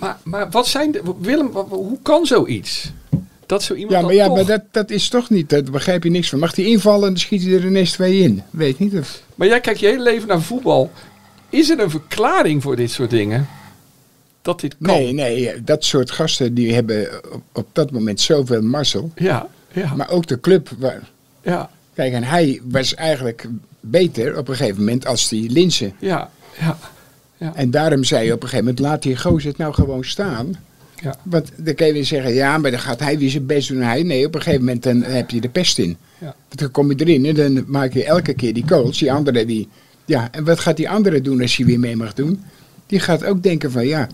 C: Maar, maar wat zijn... De, Willem, wa- wa- hoe kan zoiets? Dat zo iemand
B: Ja,
C: dan
B: maar, ja,
C: toch-
B: maar dat, dat is toch niet, daar begrijp je niks van. Mag hij invallen en dan schiet hij er ineens twee in? Weet niet of...
C: Maar jij kijkt je hele leven naar voetbal. Is er een verklaring voor dit soort dingen? Dat dit kan?
B: Nee, nee, dat soort gasten die hebben op, op dat moment zoveel mazzel.
C: Ja, ja,
B: Maar ook de club. waar-
C: ja,
B: Kijk, en hij was eigenlijk beter op een gegeven moment als die Linsen.
C: ja, ja,
B: En daarom zei je op een gegeven moment, laat die gozer het nou gewoon staan.
C: ja.
B: Want dan kun je weer zeggen, ja, maar dan gaat hij weer zijn best doen. Hij, nee, op een gegeven moment dan heb je de pest in.
C: Ja.
B: Want dan kom je erin en dan maak je elke keer die goals. Die andere die... Ja, en wat gaat die andere doen als hij weer mee mag doen? Die gaat ook denken van, ja,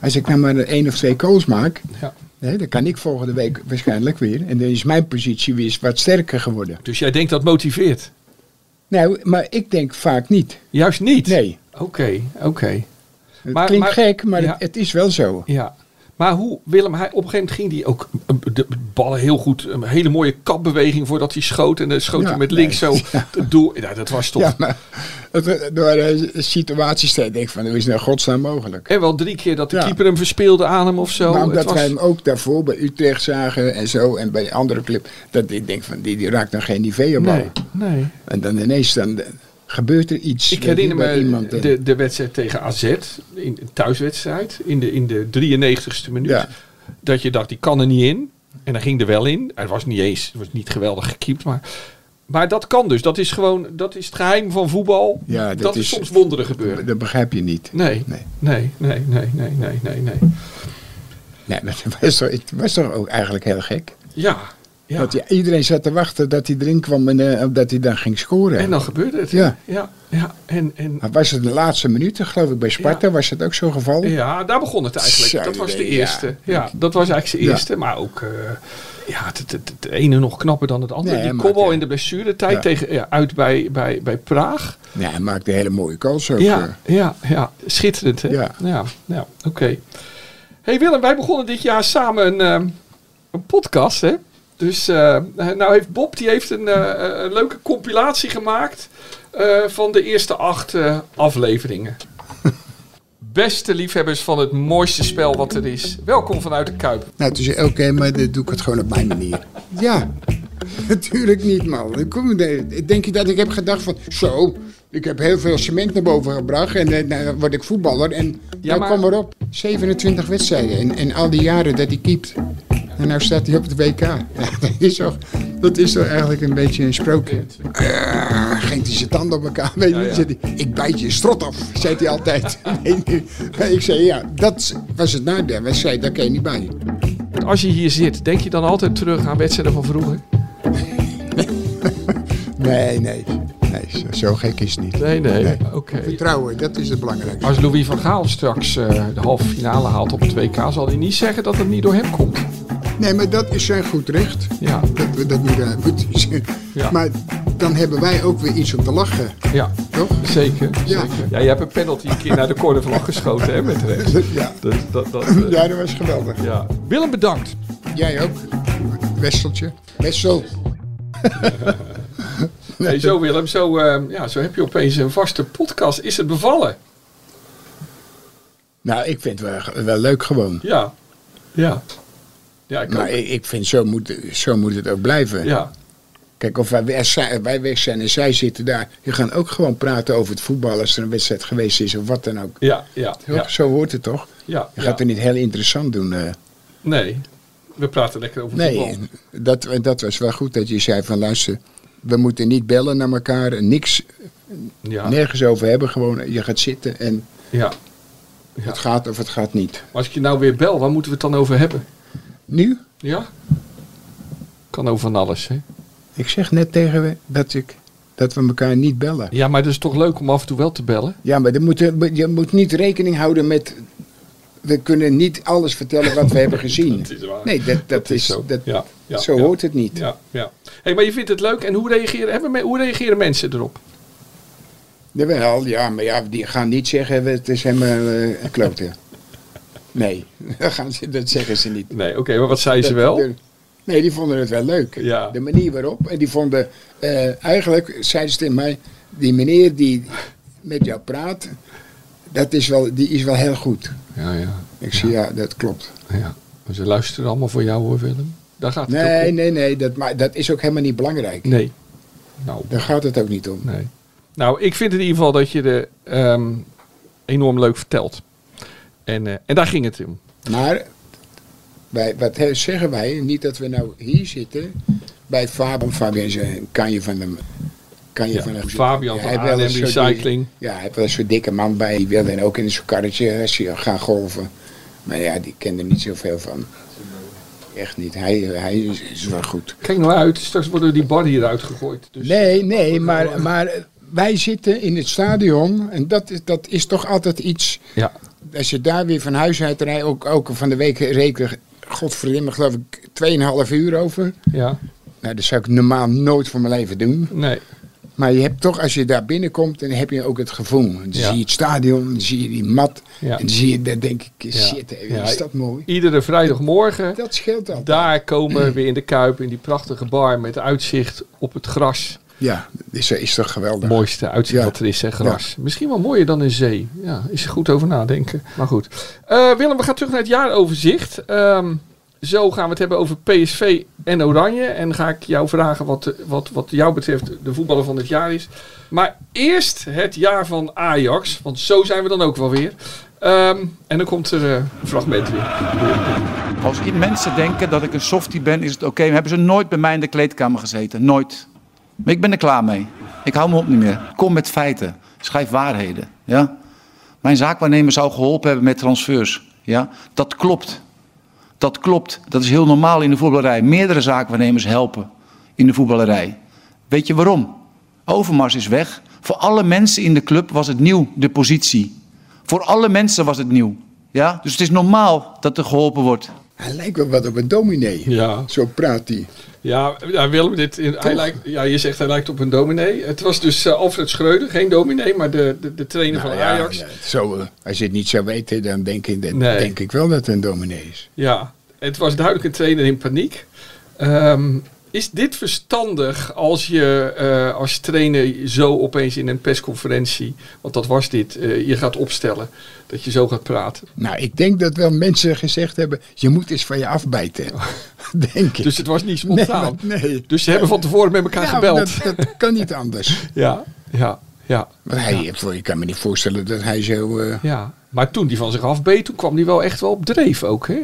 B: als ik nou maar één of twee goals maak...
C: ja.
B: Hè, dan kan ik volgende week waarschijnlijk weer. En dan is mijn positie weer eens wat sterker geworden.
C: Dus jij denkt dat motiveert?
B: Nou, maar ik denk vaak niet.
C: Juist niet?
B: Nee.
C: Oké, oké.
B: Het
C: Maar-
B: klinkt
C: maar-
B: gek, maar
C: ja.
B: het, het is wel zo.
C: Ja. Maar hoe Willem, hij, op een gegeven moment ging hij ook eh, de ballen heel goed. Een hele mooie kapbeweging voordat hij schoot. En dan schoot
B: *laughs* Ja,
C: hij met links
B: nee.
C: zo het doel. Ja, dat was toch.
B: Ja, maar het, het waren situaties dat ik denk van, hoe is nou godsnaam mogelijk?
C: En wel drie keer dat de
B: Ja.
C: keeper hem verspeelde aan hem of zo.
B: maar
C: Het
B: omdat
C: was-
B: wij hem ook daarvoor bij Utrecht zagen en zo en bij andere club, dat ik denk van, die, die raakt dan geen niveau-bal.
C: Nee, nee.
B: En dan ineens dan, eh, gebeurt er iets.
C: Ik
B: weet
C: herinner
B: je, bij
C: me
B: iemand eh. en-
C: de, de wedstrijd tegen AZ, in, een thuiswedstrijd, in de, in de 93ste minuut.
B: Ja.
C: Dat je dacht, die kan er niet in. En dan ging er wel in. Het was niet eens, het was niet geweldig gekiept, maar... Maar dat kan dus. Dat is gewoon dat is het geheim van voetbal.
B: Ja,
C: dat
B: dat
C: er
B: is-
C: soms wonderen gebeuren.
B: Dat begrijp je niet.
C: Nee, nee,
B: Nee.
C: nee, nee, nee, nee, nee, nee.
B: Nee, maar het was toch, het was toch ook eigenlijk heel gek.
C: Ja, ja.
B: Dat je, iedereen zat te wachten dat hij erin kwam en eh, dat hij dan ging scoren.
C: En dan gebeurde het.
B: Ja.
C: ja, ja. En, en,
B: Maar was het de laatste minuten, geloof ik, bij Sparta was het ook zo'n geval?
C: Ja, daar begon het eigenlijk.
B: Zo,
C: Dat was de
B: nee, ja.
C: eerste. Ja, dat was eigenlijk
B: Ja.
C: de eerste. Maar ook eh, ja, het, het, het- het ene nog knapper dan het andere.
B: Nee,
C: Die
B: maar
C: kopbal
B: het-
C: in de blessuretijd
B: Ja.
C: tegen, ja, uit bij, bij, bij Praag.
B: Nee, hij maakte een hele mooie kans ook.
C: Ja,
B: eh.
C: ja, ja, schitterend hè?
B: Ja.
C: ja, ja, oké. hey Willem, wij begonnen dit jaar samen een, ehm, een podcast hè? Dus eh, nou heeft Bob die heeft een, eh, een leuke compilatie gemaakt eh, van de eerste acht eh, afleveringen. *laughs* Beste liefhebbers van het mooiste spel wat er is. Welkom vanuit de Kuip.
B: Nou, toen zei ik, oké, maar dan doe ik het gewoon op mijn manier. Ja, *laughs* natuurlijk niet, man. Dan kom je daar- Denk je dat ik heb gedacht van, zo, ik heb heel veel cement naar boven gebracht en eh, nou word ik voetballer. En nou,
C: maar-
B: kom erop, 27 wedstrijden en, en al die jaren dat hij keept. En nou staat hij op het WK. *laughs* Ja, dat, is toch, dat is toch eigenlijk een beetje een sprookje. Uh, ging hij zijn tanden op elkaar. *laughs* Weet je,
C: Ja, ja.
B: zei hij, ik bijt je strot af, *laughs* zei hij altijd. *laughs* Maar ik zei, ja, dat was het nadeel. Wij zeiden, daar kan je niet bij.
C: Als je hier zit, denk je dan altijd terug aan wedstrijden van vroeger?
B: Nee, nee. nee zo, zo gek is het niet.
C: Nee, nee.
B: Nee.
C: Oké.
B: Vertrouwen, dat is het belangrijkste.
C: Als Louis van Gaal straks eh, de halve finale haalt op het WK, zal hij niet zeggen dat het niet door hem komt.
B: Nee, maar dat is zijn goed recht.
C: Ja,
B: Dat we dat niet aan goed *laughs* is.
C: Ja.
B: Maar dan hebben wij ook weer iets om te lachen,
C: ja.
B: toch? *laughs*
C: Zeker,
B: Ja.
C: zeker. Ja, je hebt een penalty een keer naar de cornervlag geschoten, hè, met rechts.
B: Ja.
C: Dus dat, dat, eh, ja.
B: Ja, dat was geweldig.
C: Willem, bedankt.
B: Jij ook? Wesseltje? Wessel.
C: Nee, zo Willem, zo, eh, ja, zo heb je opeens een vaste podcast. Is het bevallen?
B: Nou, ik vind het wel, wel leuk gewoon.
C: Ja. Ja. Ja, ik
B: Maar
C: ook.
B: ik, ik vind, zo moet, zo moet het ook blijven.
C: Ja.
B: Kijk, of wij, weg zijn- wij weg zijn en zij zitten daar. Je gaan ook gewoon praten over het voetbal als er een wedstrijd geweest is of wat dan ook.
C: Ja, ja,
B: Toch?
C: ja.
B: Zo hoort het toch?
C: ja,
B: Je
C: ja.
B: gaat het niet heel interessant doen. eh.
C: Nee, we praten lekker over
B: Nee,
C: voetbal.
B: dat, dat was wel goed dat je zei van luister, we moeten niet bellen naar elkaar, en niks,
C: Ja,
B: nergens over hebben. Gewoon, eh, je gaat zitten en
C: ja.
B: het gaat of het gaat niet.
C: Maar als ik je nou weer bel, waar moeten we het dan over hebben?
B: Nu,
C: Ja? Kan over van alles, hè?
B: ik zeg net tegen we dat, ik, dat we elkaar niet bellen.
C: Ja, maar het is toch leuk om af en toe wel te bellen?
B: Ja, maar dan moet, je- je moet niet rekening houden met, we kunnen niet alles vertellen wat we hebben
C: *laughs*
B: gezien.
C: is waar.
B: Nee, dat, dat, is, dat,
C: ja, ja,
B: zo
C: ja.
B: hoort het niet.
C: Ja, ja. Hey, maar je vindt het leuk. En hoe reageren, hebben, me- hoe reageren mensen erop?
B: Jawel, ja, maar ja, die gaan niet zeggen, het is helemaal eh, een klote. Nee, *laughs* dat, gaan ze, dat zeggen ze niet.
C: Nee, oké, maar wat zei ze
B: Dat-
C: wel?
B: de- nee, die vonden het wel leuk.
C: Ja.
B: De manier waarop. En die vonden, eh, eigenlijk zeiden ze tegen mij, die meneer die met jou praat, dat is wel, die is wel heel goed.
C: Ja, ja,
B: Ik zei, ja, dat klopt.
C: ja. Maar ze luisteren allemaal voor jou hoor, Willem. Daar gaat het ook
B: Nee,
C: om.
B: nee, nee, dat, maar dat is ook helemaal niet belangrijk.
C: Nee. Nou,
B: Daar gaat het ook niet om.
C: nee. Nou, ik vind in ieder geval dat je er ehm, enorm leuk vertelt. En, eh, en daar ging het om.
B: Maar, wij, wat he- zeggen wij? Niet dat we nou hier zitten, bij Fabian, Fabian is een kanje van de... Kan je
C: Ja,
B: van de-
C: Fabian
B: Hij
C: van
B: heeft wel
C: A&M
B: een soort-
C: Recycling.
B: Ja, hij heeft wel een soort dikke man bij. Die wilde dan ook in zo'n karretje eh, als hij gaan golven. Maar ja, die kende er niet zoveel van. Echt niet. Hij, hij is, is wel goed.
C: Kijk nou uit, straks worden die bar hieruit gegooid. Dus
B: Nee, nee, maar, maar wij zitten in het stadion. En dat is, dat is toch altijd iets.
C: Ja.
B: Als je daar weer van huis uit rijdt, ook, ook van de week reken, godverdomme, geloof ik, 2,5 uur over.
C: Ja.
B: Nou, dat zou ik normaal nooit van mijn leven doen.
C: Nee.
B: Maar je hebt toch, als je daar binnenkomt, dan heb je ook het gevoel. Dan
C: Ja.
B: zie je het stadion, dan zie je die mat.
C: Ja.
B: En dan zie je, dan denk ik, shit, hé,
C: Ja.
B: is dat mooi.
C: Iedere vrijdagmorgen
B: Dat scheelt al.
C: Daar komen we weer in de Kuip, in die prachtige bar met uitzicht op het gras.
B: Ja, is, is toch geweldig.
C: Mooiste uitzicht
B: Ja.
C: dat er is, hè, gras. Misschien wel mooier dan een zee. Ja, is er goed over nadenken. Maar goed. Eh, Willem, we gaan terug naar het jaaroverzicht. Ehm, zo gaan we het hebben over PSV en Oranje. En ga ik jou vragen wat, de- wat, wat jou betreft de voetballer van het jaar is. Maar eerst het jaar van Ajax. Want zo zijn we dan ook wel weer. Ehm, en dan komt er eh, een fragment weer.
H: Als i- mensen denken dat ik een softie ben, is het oké. Maar hebben ze nooit bij mij in de kleedkamer gezeten. Nooit. Maar ik ben er klaar mee. Ik hou me op niet meer. Kom met feiten. Schrijf waarheden. Ja? Mijn zaakwaarnemer zou geholpen hebben met transfers. Ja? Dat klopt. Dat klopt. Dat is heel normaal in de voetballerij. Meerdere zaakwaarnemers helpen in de voetballerij. Weet je waarom? Overmars is weg. Voor alle mensen in de club was het nieuw, de positie. Voor alle mensen was het nieuw. Ja? Dus het is normaal dat er geholpen wordt.
B: Hij lijkt wel wat op een dominee.
C: Ja,
B: Zo praat hij.
C: Ja, ja, Willem, dit, hij lijkt, ja, je zegt hij lijkt op een dominee. Het was dus eh, Alfred Schreuder, geen dominee, maar de, de, de trainer
B: Nou
C: van
B: ja,
C: Ajax. Ja.
B: ja, zo, eh, als je het niet zou weten, dan denk ik, dat-
C: Nee.
B: denk ik wel dat het een dominee is.
C: het was duidelijk een trainer in paniek. Ehm, is dit verstandig als je eh, als trainer zo opeens in een persconferentie, want dat was dit, eh, je gaat opstellen, dat je zo gaat praten?
B: Nou, ik denk dat wel mensen gezegd hebben, je moet eens van je afbijten. *laughs* denk ik.
C: Dus het was niet spontaan.
B: Nee, maar- nee.
C: Dus ze hebben van tevoren met elkaar
B: Ja,
C: gebeld.
B: Dat, dat kan niet anders.
C: Ja, ja, ja.
B: Maar hij, heeft wel- ik kan me niet voorstellen dat hij zo... eh,
C: Ja, maar toen die van zich afbeet, toen kwam die wel echt wel op dreef
B: *laughs*
C: ook, hè?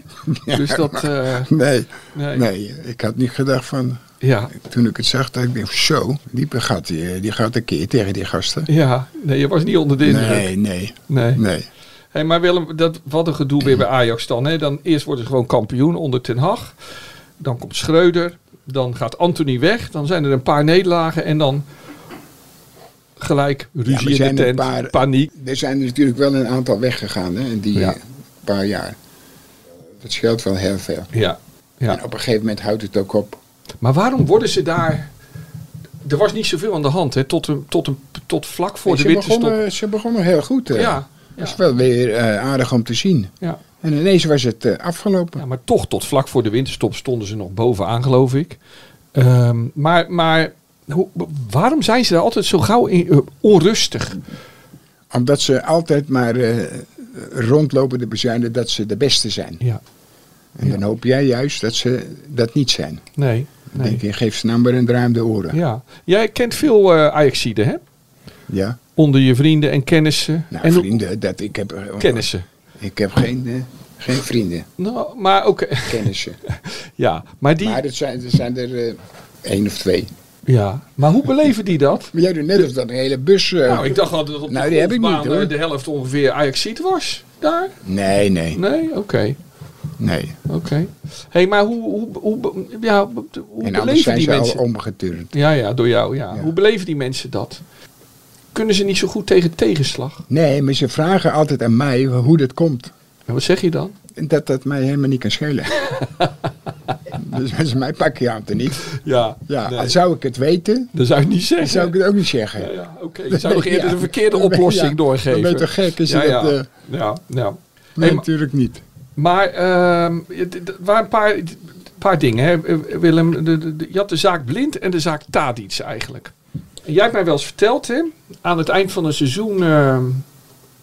C: dus dat, eh,
B: nee,
C: Nee.
B: nee. ik had niet gedacht van...
C: ja,
B: Toen ik het zag, dacht ik, denk, zo, diepe gat, die, die gaat een keer tegen die gasten.
C: ja. Nee, je was niet onder de indruk.
B: Nee,
C: Nee.
B: nee,
C: nee.
B: nee.
C: Hey, maar Willem, dat, wat een gedoe weer bij Ajax dan, hè? Dan eerst worden ze gewoon kampioen onder Ten Hag. Dan komt Schreuder. Dan gaat Anthony weg. Dan zijn er een paar nederlagen en dan gelijk
B: maar
C: ruzie in
B: zijn
C: de
B: er
C: tent,
B: een paar-
C: paniek.
B: Er zijn er natuurlijk wel een aantal weggegaan hè, in die
C: Ja.
B: eh, paar jaar. Dat scheelt wel heel veel.
C: Ja, ja.
B: En op een gegeven moment houdt het ook op.
C: Maar waarom worden ze daar... Er was niet zoveel aan de hand, hè? Tot, een, tot, een, tot vlak voor
B: ze,
C: de winterstop.
B: begonnen, ze begonnen heel goed. eh.
C: Ja,
B: Dat is
C: ja.
B: wel weer eh, aardig om te zien.
C: Ja.
B: En ineens was het eh, afgelopen.
C: Ja, maar toch tot vlak voor de winterstop stonden ze nog bovenaan, geloof ik. Ehm, maar maar hoe, waarom zijn ze daar altijd zo gauw in, eh, onrustig?
B: Omdat ze altijd maar eh, rondlopen te bezuinigen dat ze de beste zijn.
C: Ja,
B: En dan hoop jij juist dat ze dat niet zijn.
C: nee.
B: Dan
C: nee.
B: denk je, geef ze nou maar een draai om de oren.
C: Ja. Jij kent veel eh Ajaxiden, hè?
B: ja?
C: Onder je vrienden en kennissen.
B: Nou,
C: en
B: vrienden, dat, ik heb... eh,
C: Kennissen.
B: Ik heb geen, eh, geen vrienden,
C: Nou, maar oké.
B: kennissen.
C: *laughs* Ja, maar die.
B: Maar dat zijn, er zijn er eh, één of twee.
C: ja. Maar hoe beleven die dat?
B: Maar jij doet net of dat een hele bus... eh,
C: Nou, ik dacht altijd dat op
B: Nou,
C: de
B: die heb ik niet,
C: golfbaan, eh,
B: hoor.
C: de helft ongeveer Ajaxid was. Daar?
B: Nee, nee,
C: Nee? Oké.
B: nee.
C: Oké. hey, maar hoe, hoe, hoe, ja, hoe
B: En anders
C: beleven
B: zijn
C: die
B: ze
C: mensen
B: al omgeturnd.
C: Ja, ja, door jou. Ja.
B: Ja.
C: Hoe beleven die mensen dat? Kunnen ze niet zo goed tegen tegenslag?
B: Nee, maar ze vragen altijd aan mij hoe dat komt.
C: En wat zeg je dan?
B: En dat dat mij helemaal niet kan
C: *laughs*
B: schelen. dus als ze mij pakken, aan het er niet.
C: Ja,
B: Ja, al zou ik het weten,
C: dat zou ik niet zeggen.
B: dan zou ik het ook niet zeggen.
C: ja, ja, oké. Je zou nog eerder de verkeerde
B: Ja, dan ben-
C: oplossing
B: ja,
C: doorgeven.
B: dan ben je toch gek als je
C: ja, ja.
B: dat, eh,
C: ja, ja.
B: Nee,
C: Hey, maar-
B: natuurlijk niet.
C: Maar ehm, het- het waren een paar, een paar dingen, hè, Eh, Willem. De- de- de- je had de zaak Blind en de zaak Tadic eigenlijk. En jij hebt mij wel eens verteld, hè, aan het eind van een seizoen ehm,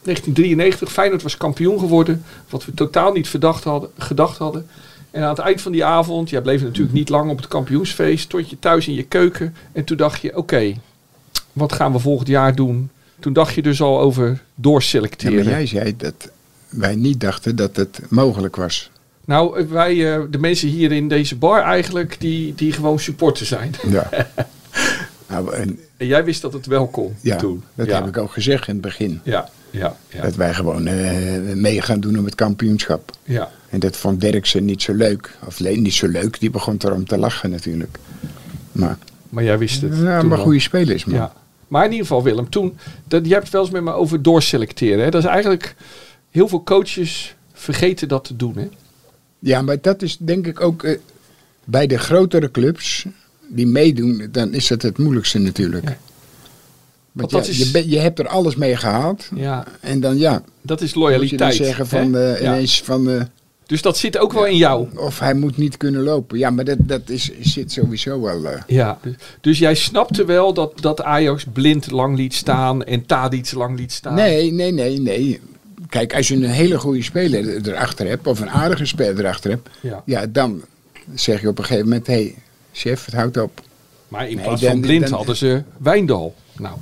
C: 1993, Feyenoord was kampioen geworden, wat we totaal niet verdacht hadden, gedacht hadden. En aan het eind van die avond, jij bleef natuurlijk niet lang op het kampioensfeest, stond je thuis in je keuken en toen dacht je, oké, wat gaan we volgend jaar doen? Toen dacht je dus al over
B: Ja,
C: doorselecteren.
B: maar jij zei dat wij niet dachten dat het mogelijk was.
C: Nou, eh, wij, eh, de mensen hier in deze bar eigenlijk, die, die gewoon supporter zijn. *laughs*
B: Ja. nou, en
C: En jij wist dat het wel kon
B: Ja,
C: toen.
B: dat
C: ja.
B: heb ik ook gezegd in het begin.
C: Ja, ja, ja.
B: Dat wij gewoon eh, mee gaan doen om het kampioenschap.
C: ja.
B: En dat vond Derksen niet zo leuk. Of Leen niet zo leuk, die begon erom te lachen natuurlijk. Maar,
C: Maar jij wist het.
B: ja,
C: toen
B: maar
C: al.
B: goede speler is man.
C: Ja. Maar in ieder geval, Willem, toen, dat, je hebt het wel eens met me over doorselecteren. Hè? Dat is eigenlijk, heel veel coaches vergeten dat te doen. Hè?
B: Ja, maar dat is denk ik ook eh, bij de grotere clubs die meedoen, dan is dat het moeilijkste natuurlijk.
C: Ja.
B: Want
C: dat
B: ja,
C: is-
B: je, bent- je hebt er alles mee gehaald.
C: Ja,
B: En dan ja,
C: dat
B: moet
C: is
B: je
C: loyaliteit.
B: dan zeggen van,
C: hè?
B: eh,
C: Ja.
B: ineens van eh,
C: Dus dat zit ook wel in jou.
B: of hij moet niet kunnen lopen. Ja, maar dat, dat is, zit sowieso wel. eh,
C: Ja. Dus jij snapte wel dat, dat Ajax blind lang liet staan en Tadic lang liet staan.
B: Nee, nee, nee, nee. Kijk, als je een hele goede speler er- erachter hebt, of een aardige speler erachter hebt,
C: Ja.
B: ja, dan zeg je op een gegeven moment: hé, hey, chef, het houdt op.
C: Maar in
B: Nee,
C: plaats
B: dan-
C: van blind
B: dan-
C: hadden ze Wijndal. Nou,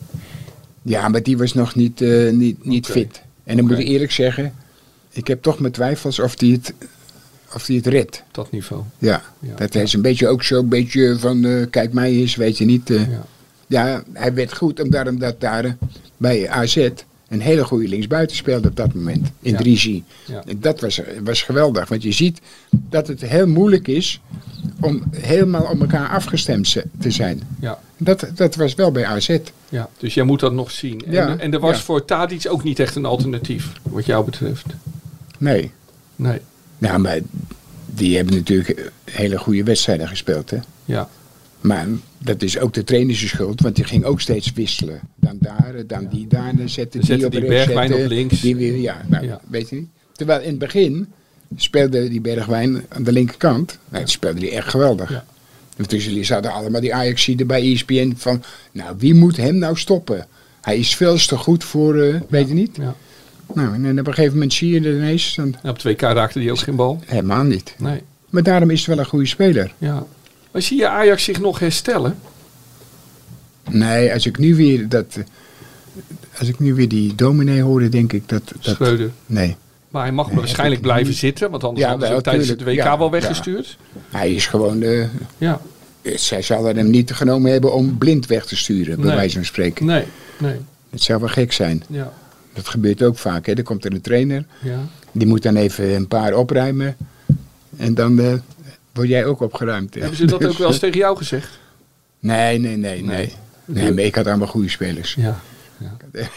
B: Ja, maar die was nog niet, eh, niet, niet
C: Oké.
B: fit. En dan moet
C: Oké.
B: ik eerlijk zeggen, ik heb toch mijn twijfels of die het, of die het redt.
C: dat niveau.
B: Ja,
C: Ja.
B: dat is een beetje ook zo'n beetje van, eh, kijk mij eens, weet je niet. eh.
C: Ja.
B: ja. hij werd goed, omdat, omdat daar eh, bij AZ een hele goede linksbuiten speelde op dat moment, in
C: Ja.
B: 3G.
C: Ja.
B: En dat was, was geweldig, want je ziet dat het heel moeilijk is om helemaal op elkaar afgestemd ze- te zijn.
C: Ja.
B: Dat, dat was wel bij AZ.
C: Ja, dus jij moet dat nog zien.
B: Ja,
C: En, en er was
B: ja.
C: voor Tadic ook niet echt een alternatief, wat jou betreft.
B: Nee.
C: Nee,
B: Nou, maar die hebben natuurlijk hele goede wedstrijden gespeeld, hè.
C: ja.
B: Maar dat is ook de trainers schuld, want die ging ook steeds wisselen. Dan daar, dan die daar, dan zette
C: Dan
B: die
C: zette
B: op
C: die
B: rechts,
C: Bergwijn
B: zette
C: op links.
B: Die weer, ja, nou,
C: Ja.
B: weet je niet. Terwijl in het begin speelde die Bergwijn aan de linkerkant. Nou, het speelde die echt geweldig.
C: Ja.
B: En Tussen jullie zaten allemaal die Ajaxiden bij E ESPN van, nou wie moet hem nou stoppen? Hij is veel te goed voor, eh, weet je niet.
C: ja.
B: Nou, en, dan op een gegeven moment zie je er ineens, dan,
C: En op 2K raakte hij ook geen bal.
B: helemaal niet.
C: Nee,
B: Maar daarom is het wel een goede speler.
C: ja. Maar zie je Ajax zich nog herstellen?
B: Nee, als ik nu weer dat. eh, Als ik nu weer die dominee hoorde, denk ik dat. dat
C: Schreuder.
B: nee.
C: Maar hij mag waarschijnlijk blijven zitten, want anders
B: Ja,
C: hadden ze
B: wel,
C: hem tijdens het WK
B: tuurlijk. Ja,
C: wel weggestuurd.
B: Hij is gewoon. eh,
C: Ja,
B: zij zouden hem niet genomen hebben om blind weg te sturen, bij
C: Nee.
B: wijze van spreken.
C: nee, nee,
B: Het zou wel gek zijn.
C: ja,
B: Dat gebeurt ook vaak. Hè. Er komt er een trainer,
C: ja.
B: die moet dan even een paar opruimen. En dan eh, word jij ook opgeruimd. hè.
C: Hebben ze dat
B: Dus, *laughs*
C: ook wel eens tegen jou gezegd?
B: Nee, nee, nee, nee. Nee, maar ik had allemaal goede spelers.
C: Ja.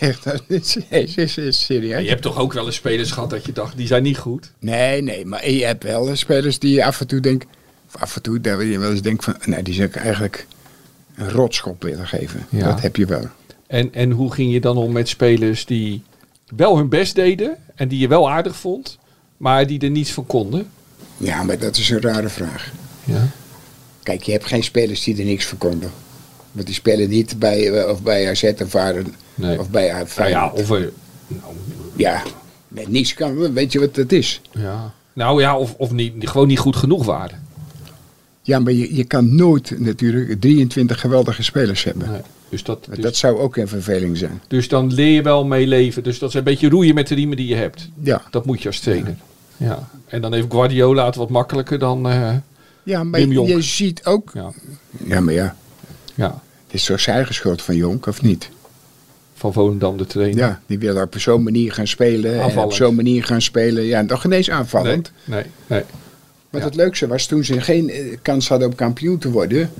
B: Echt, *laughs* dat is, is, is, is serieus.
C: Je hebt toch ook wel eens spelers gehad dat je dacht, die zijn niet goed?
B: Nee, nee, maar je hebt wel spelers die je af en toe denkt, of af en toe dat je wel eens denkt van, nou die zou ik eigenlijk een rotschop willen geven.
C: Ja.
B: Dat heb je wel.
C: En, en hoe ging je dan om met spelers die wel hun best deden en die je wel aardig vond, maar die er niets van konden?
B: Ja, maar dat is een rare vraag.
C: Ja.
B: Kijk, je hebt geen spelers die er niks verkonden. Want die spelen niet bij, eh, of bij AZ of, Varen,
C: Nee.
B: of bij AZ.
C: Nou ja, of, eh,
B: ja, met niks kan, weet je wat dat is?
C: ja. Nou ja, of, of niet, gewoon niet goed genoeg waren.
B: Ja, maar je, je kan nooit natuurlijk 23 geweldige spelers hebben.
C: Nee. Dus, dat, dus,
B: Dat zou ook een verveling zijn.
C: dus dan leer je wel mee leven. Dus dat is een beetje roeien met de riemen die je hebt.
B: Ja.
C: Dat moet je als trainer. Ja. En dan heeft Guardiola het wat makkelijker dan... eh,
B: Ja, maar
C: Wim
B: je,
C: Jonk.
B: je ziet ook...
C: ja.
B: Ja, maar ja.
C: ja,
B: Het is toch zijn eigen schuld van Jonk, of niet?
C: van Volendam de trainer.
B: Ja, die wil op zo'n manier gaan spelen. En op
C: Aanvallend.
B: zo'n manier gaan spelen. Ja, en toch ineens
C: nee,
B: aanvallend.
C: nee, nee.
B: Wat het leukste was, toen ze geen eh, kans hadden om kampioen te worden...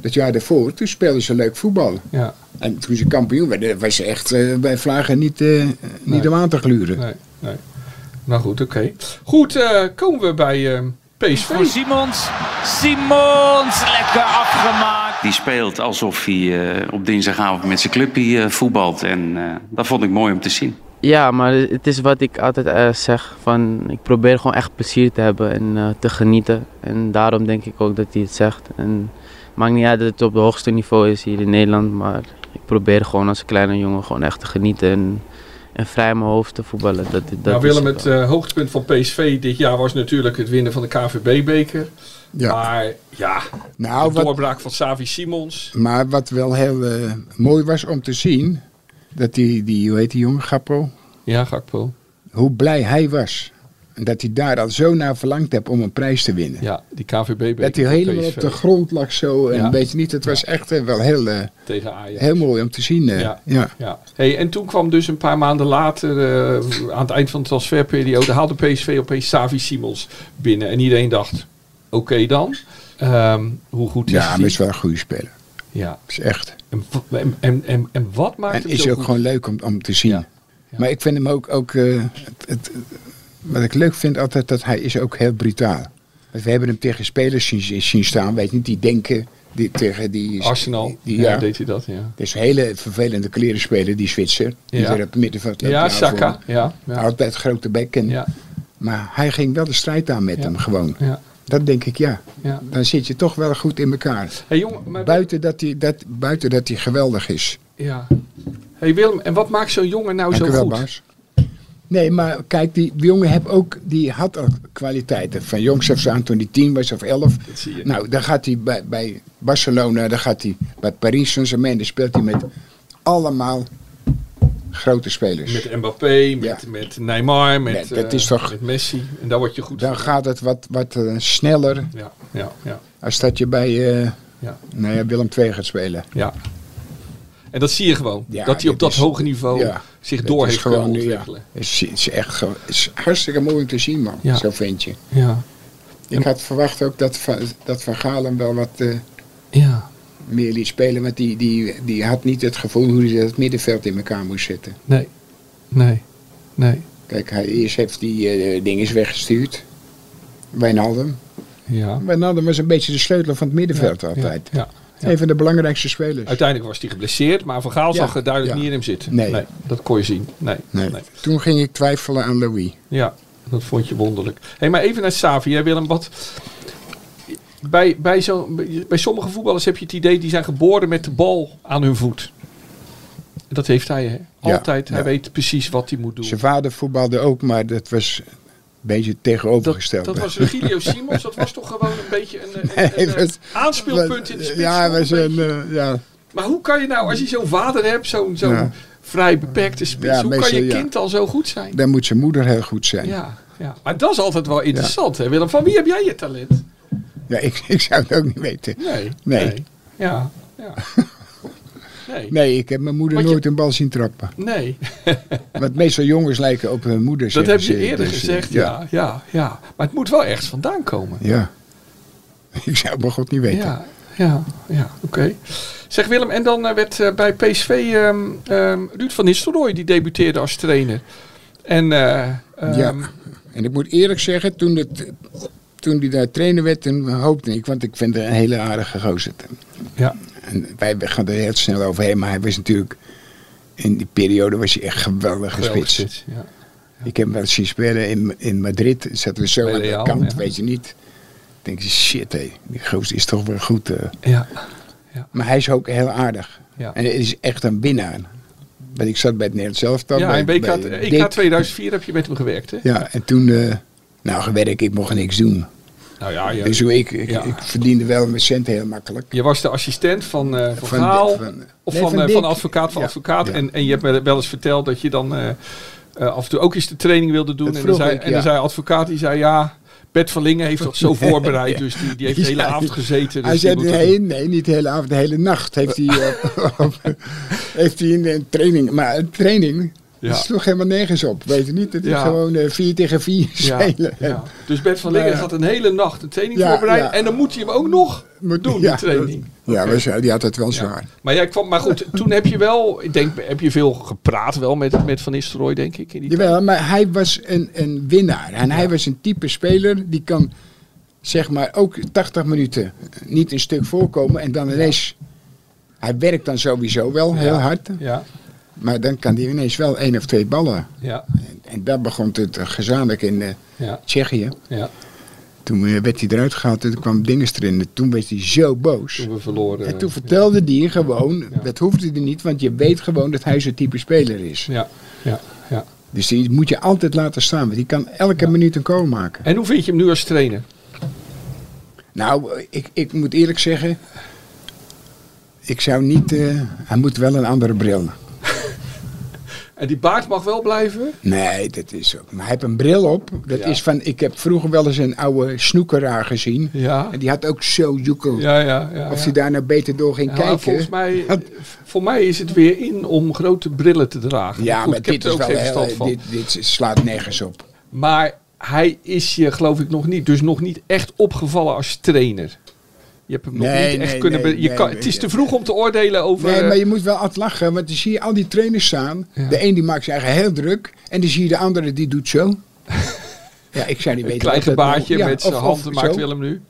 B: Dat jaar daarvoor, toen speelden ze leuk voetbal.
C: Ja,
B: En toen ze kampioen werden, was ze echt eh, bij Vlagen niet, eh, niet om aan te gluren.
C: nee, nee. Nou goed, oké. Goed, eh, komen we bij eh, PSV.
E: Voor Simons. Simons, lekker afgemaakt.
I: Die speelt alsof hij eh, op dinsdagavond met zijn clubje eh, voetbalt. En eh, dat vond ik mooi om te zien.
J: Ja, maar het is wat ik altijd eh, zeg. Van, ik probeer gewoon echt plezier te hebben en eh, te genieten. En daarom denk ik ook dat hij het zegt. En het maakt niet uit dat het op het hoogste niveau is hier in Nederland. Maar ik probeer gewoon als kleine jongen gewoon echt te genieten. En, en vrij in mijn hoofd te voetballen. Dat, dat
C: Nou,
J: is
C: Willem,
J: het
C: het
J: wel.
C: eh, hoogtepunt van PSV dit jaar was natuurlijk het winnen van de KVB-beker.
B: Ja.
C: Maar ja,
B: Nou,
C: de
B: wat,
C: doorbraak van Savi Simons.
B: maar wat wel heel eh, mooi was om te zien... dat die, die hoe heet die jongen, Gappo?
C: Ja, Gakpo.
B: Hoe blij hij was. En dat hij daar al zo naar verlangd heeft om een prijs te winnen.
C: Ja, die KVB-beker
B: Dat hij
C: van
B: helemaal op
C: PSV
B: de grond lag zo. En
C: eh, Ja.
B: weet je niet, het was echt eh, wel heel, eh,
C: tegen Ajax.
B: heel mooi om te zien. eh,
C: Ja.
B: ja.
C: Ja. Hey, en toen kwam dus een paar maanden later, eh, aan het eind van de transferperiode, haalde PSV opeens Savi Simons binnen. En iedereen dacht, oké dan, Ehm, hoe goed is
B: Ja, maar
C: die?
B: het is wel een goede speler.
C: Ja.
B: Het is echt.
C: En, w- en, en, en, en wat maakt
B: En
C: hem
B: is
C: zo
B: ook
C: goed?
B: gewoon leuk om, om te zien.
C: Ja.
B: Maar ik vind hem ook... ook eh, het, het- wat ik leuk vind altijd, dat hij is ook heel brutaal. Want We hebben hem tegen spelers zien, zien staan, weet je niet, die denken... Die, tegen die...
C: Arsenal.
B: die-
C: ja,
B: ja.
C: deed hij dat, ja.
B: Dus een hele vervelende klerenspeler, die Zwitser. Die
C: Ja.
B: weer op het middenveld loopt
C: Ja,
B: te houden.
C: Saka. Ja, ja.
B: Altijd grote bek. En, Maar hij ging wel de strijd aan met hem gewoon.
C: Ja.
B: Dat denk ik, ja.
C: Ja.
B: Dan zit je toch wel goed in elkaar.
C: Hey, jongen, maar-
B: buiten, dat hij, dat, buiten dat hij geweldig is.
C: ja. hey Willem, en wat maakt zo'n jongen nou
B: Dank
C: zo
B: u wel,
C: goed?
B: Bas. Nee, maar kijk, die, die jongen heb ook, die had ook kwaliteiten. Van jongs af aan, toen hij tien was of elf.
C: zie je.
B: Nou, dan gaat hij bij, bij Barcelona, dan gaat hij bij Paris Saint-Germain. Dan speelt hij met allemaal grote spelers.
C: Met Mbappé, met, met Neymar, met,
B: Nee, dat
C: eh,
B: is toch-
C: met Messi. En daar word je goed
B: dan
C: van.
B: gaat het wat, wat eh, sneller
C: Ja, ja, ja.
B: als dat je bij eh,
C: Ja.
B: nou ja, Willem II gaat spelen.
C: Ja. En dat zie je gewoon.
B: Ja,
C: dat hij
B: dit
C: op dat
B: is-
C: hoge niveau
B: ja,
C: zich
B: dat
C: door
B: is
C: heeft kunnen
B: gewoon, ja.
C: ontwikkelen.
B: Het is, het is echt gewoon- het is hartstikke mooi om te zien, man.
C: Ja.
B: Zo vind je.
C: Ja.
B: Ik had verwacht ook dat Van, dat van Galen wel wat eh,
C: ja.
B: meer liet spelen. Want die, die, die had niet het gevoel hoe hij het middenveld in elkaar moest zetten.
C: Nee. Nee. Nee.
B: Kijk, hij, eerst heeft die eh ding is weggestuurd. Wijnaldum.
C: Ja.
B: Wijnaldum was een beetje de sleutel van het middenveld altijd.
C: Ja. ja.
B: Een van de belangrijkste spelers.
C: Uiteindelijk was hij geblesseerd, maar Van Gaal
B: Ja,
C: zag er duidelijk
B: ja.
C: niet in hem zitten.
B: Nee.
C: dat kon je zien. Nee,
B: Nee.
C: nee.
B: Toen ging ik twijfelen aan Louis.
C: Ja, dat vond je wonderlijk. Hé, maar even naar Savi. Jij Willem, wat... Bij, bij, zo, bij sommige voetballers heb je het idee, die zijn geboren met de bal aan hun voet. Dat heeft hij, hè?
B: Ja,
C: Altijd. hij
B: ja.
C: weet precies wat hij moet doen.
B: Zijn vader voetbalde ook, maar dat was een beetje het tegenovergestelde.
C: Dat was Regilio Simons, dat was toch gewoon een beetje een, een, een,
B: Nee,
C: een
B: dat-
C: aanspeelpunt in de spits.
B: Ja,
C: toch?
B: was een, eh, ja,
C: Maar hoe kan je nou, als je zo'n vader hebt, zo'n zo'n
B: Ja.
C: vrij beperkte spits,
B: Ja,
C: hoe
B: meestal,
C: kan je
B: ja.
C: kind dan zo goed zijn?
B: dan moet zijn moeder heel goed zijn. Ja,
C: Ja, ja, maar dat is altijd wel interessant, hè Willem? Van wie heb jij je talent?
B: ik, *laughs* ik zou het ook niet weten.
C: Nee.
B: Nee.
C: Ja,
B: *laughs*
C: ja. Nee. Nee.
B: Nee, ik heb mijn moeder
C: Want je-
B: nooit een bal zien trappen. Want meestal jongens lijken op hun moeder.
C: Dat
B: zeggen
C: heb je
B: ze.
C: eerder
B: Dus, eh,
C: gezegd, ja, ja, ja. Maar het moet wel ergens vandaan komen.
B: Ja. *laughs* Ik zou het bij God niet weten.
C: Ja, ja, ja, oké. Zeg Willem, en dan eh, werd eh, bij PSV ehm, ehm, Ruud van Nistelrooy, die debuteerde als trainer. En eh, ehm,
B: Ja. En ik moet eerlijk zeggen, toen, het, toen die daar trainer werd, toen hoopte ik, want ik vind het een hele aardige gozer.
C: ja,
B: En wij gaan er heel snel overheen, maar hij was natuurlijk, in die periode was hij echt geweldig
C: geweldig
B: gespitst.
C: spits, ja.
B: Ik heb hem wel eens zien spelen in, in Madrid. Zaten we zo
C: Bij
B: aan de
C: Real,
B: kant,
C: ja.
B: weet je niet. Ik denk, shit hé, die gozer is toch wel goed. eh.
C: Ja,
B: Maar hij is ook heel aardig.
C: Ja.
B: En hij is echt een winnaar. Want ik zat bij het Nederlands Elftal.
C: ja
B: bij,
C: en WK,
B: bij
C: EK
B: Dick.
C: 2004 heb je met hem gewerkt, hè?
B: Ja, en toen... eh, nou, gewerkt, ik mocht niks doen.
C: Nou ja, je,
B: Dus hoe ik, ik,
C: Ja.
B: ik verdiende wel mijn cent heel makkelijk.
C: je was de assistent van eh, van
B: Van-
C: Gaal,
B: van-
C: of
B: nee,
C: van,
B: van
C: eh,
B: Dick.
C: van advocaat van
B: Ja,
C: advocaat.
B: ja.
C: En, en je hebt me wel eens verteld dat je dan eh, eh, af en toe ook eens de training wilde doen.
B: Dat
C: En dan
B: vroeg
C: zei,
B: ik,
C: en dan
B: ja.
C: zei advocaat, die zei ja... Bert van Lingen heeft dat
B: *laughs*
C: zo voorbereid, dus die, die heeft de hele
B: Ja.
C: avond gezeten. Dus
B: hij
C: die
B: zei,
C: moet dat
B: nee, nee, niet de hele avond, de hele nacht heeft
C: *laughs*
B: hij, eh, *laughs* op- heeft hij een, een training. Maar een training,
C: Ja.
B: dat sloeg helemaal nergens op. Weet je niet, het is
C: Ja.
B: gewoon eh, vier tegen vier spelen.
C: ja. Dus Bert van Lingen
B: Maar-
C: gaat een hele nacht een training
B: Ja,
C: voorbereid.
B: ja.
C: En dan moet hij hem ook nog
B: Moet-
C: doen,
B: ja,
C: die training.
B: Ja,
C: Oké.
B: maar ze- die had het wel
C: Ja.
B: zwaar.
C: Maar, jij kwam, maar goed, toen heb je wel, ik denk, heb je veel gepraat wel met, met Van Nistelrooy, denk ik. In die
B: Jawel, maar hij was een, een winnaar. En hij was een type speler die kan, zeg maar, ook 80 minuten niet een stuk voorkomen. En dan ineens, hij werkt dan sowieso wel heel hard.
C: Ja,
B: Maar dan kan hij ineens wel één of twee ballen.
C: ja,
B: En, en daar begon het eh, gezamenlijk in eh,
C: ja,
B: Tsjechië.
C: ja.
B: Toen eh, werd hij eruit gehaald en toen kwam Dinges erin. En toen werd hij zo boos.
C: Toen we verloren.
B: En toen vertelde hij gewoon, dat hoefde hij niet, want je weet gewoon dat hij zo'n type speler is.
C: Ja, ja, ja.
B: Dus die moet je altijd laten staan, want die kan elke minuut een goal maken.
C: En hoe vind je hem nu als trainer?
B: Nou, ik, ik moet eerlijk zeggen, ik zou niet, eh, hij moet wel een andere bril.
C: En die baard mag wel blijven?
B: Nee, dat is ook. Maar hij heeft een bril op. Dat
C: Ja.
B: is van, ik heb vroeger wel eens een oude snoekeraar gezien.
C: Ja.
B: En die had ook zo joekel.
C: Ja, ja, ja.
B: Of
C: Oh, ja.
B: hij daar nou beter door ging
C: Ja,
B: kijken.
C: volgens mij,
B: Dat-
C: *laughs* voor mij is het weer in om grote brillen te dragen.
B: ja,
C: Goed,
B: maar
C: ik heb
B: dit
C: er
B: is
C: ook
B: wel
C: geen
B: heel,
C: verstand van.
B: dit, dit slaat nergens op.
C: Maar hij is je, geloof ik, nog niet. Dus nog niet echt opgevallen als trainer. Je hebt hem nog
B: Nee,
C: niet echt
B: nee,
C: kunnen.
B: nee,
C: be- je
B: nee,
C: kan,
B: nee,
C: het is
B: nee.
C: te vroeg om te oordelen over.
B: Nee,
C: eh,
B: maar je moet wel altijd lachen, want dan zie je al die trainers staan.
C: Ja. *laughs*
B: De een die maakt zijn eigen heel druk. En dan zie je de andere die doet zo. Ja, ik zou niet
C: eh, Een
B: weten.
C: klein
B: wat dat
C: gebaartje
B: nou- ja,
C: met zijn
B: of- of
C: hand maakt
B: zo.
C: Willem nu.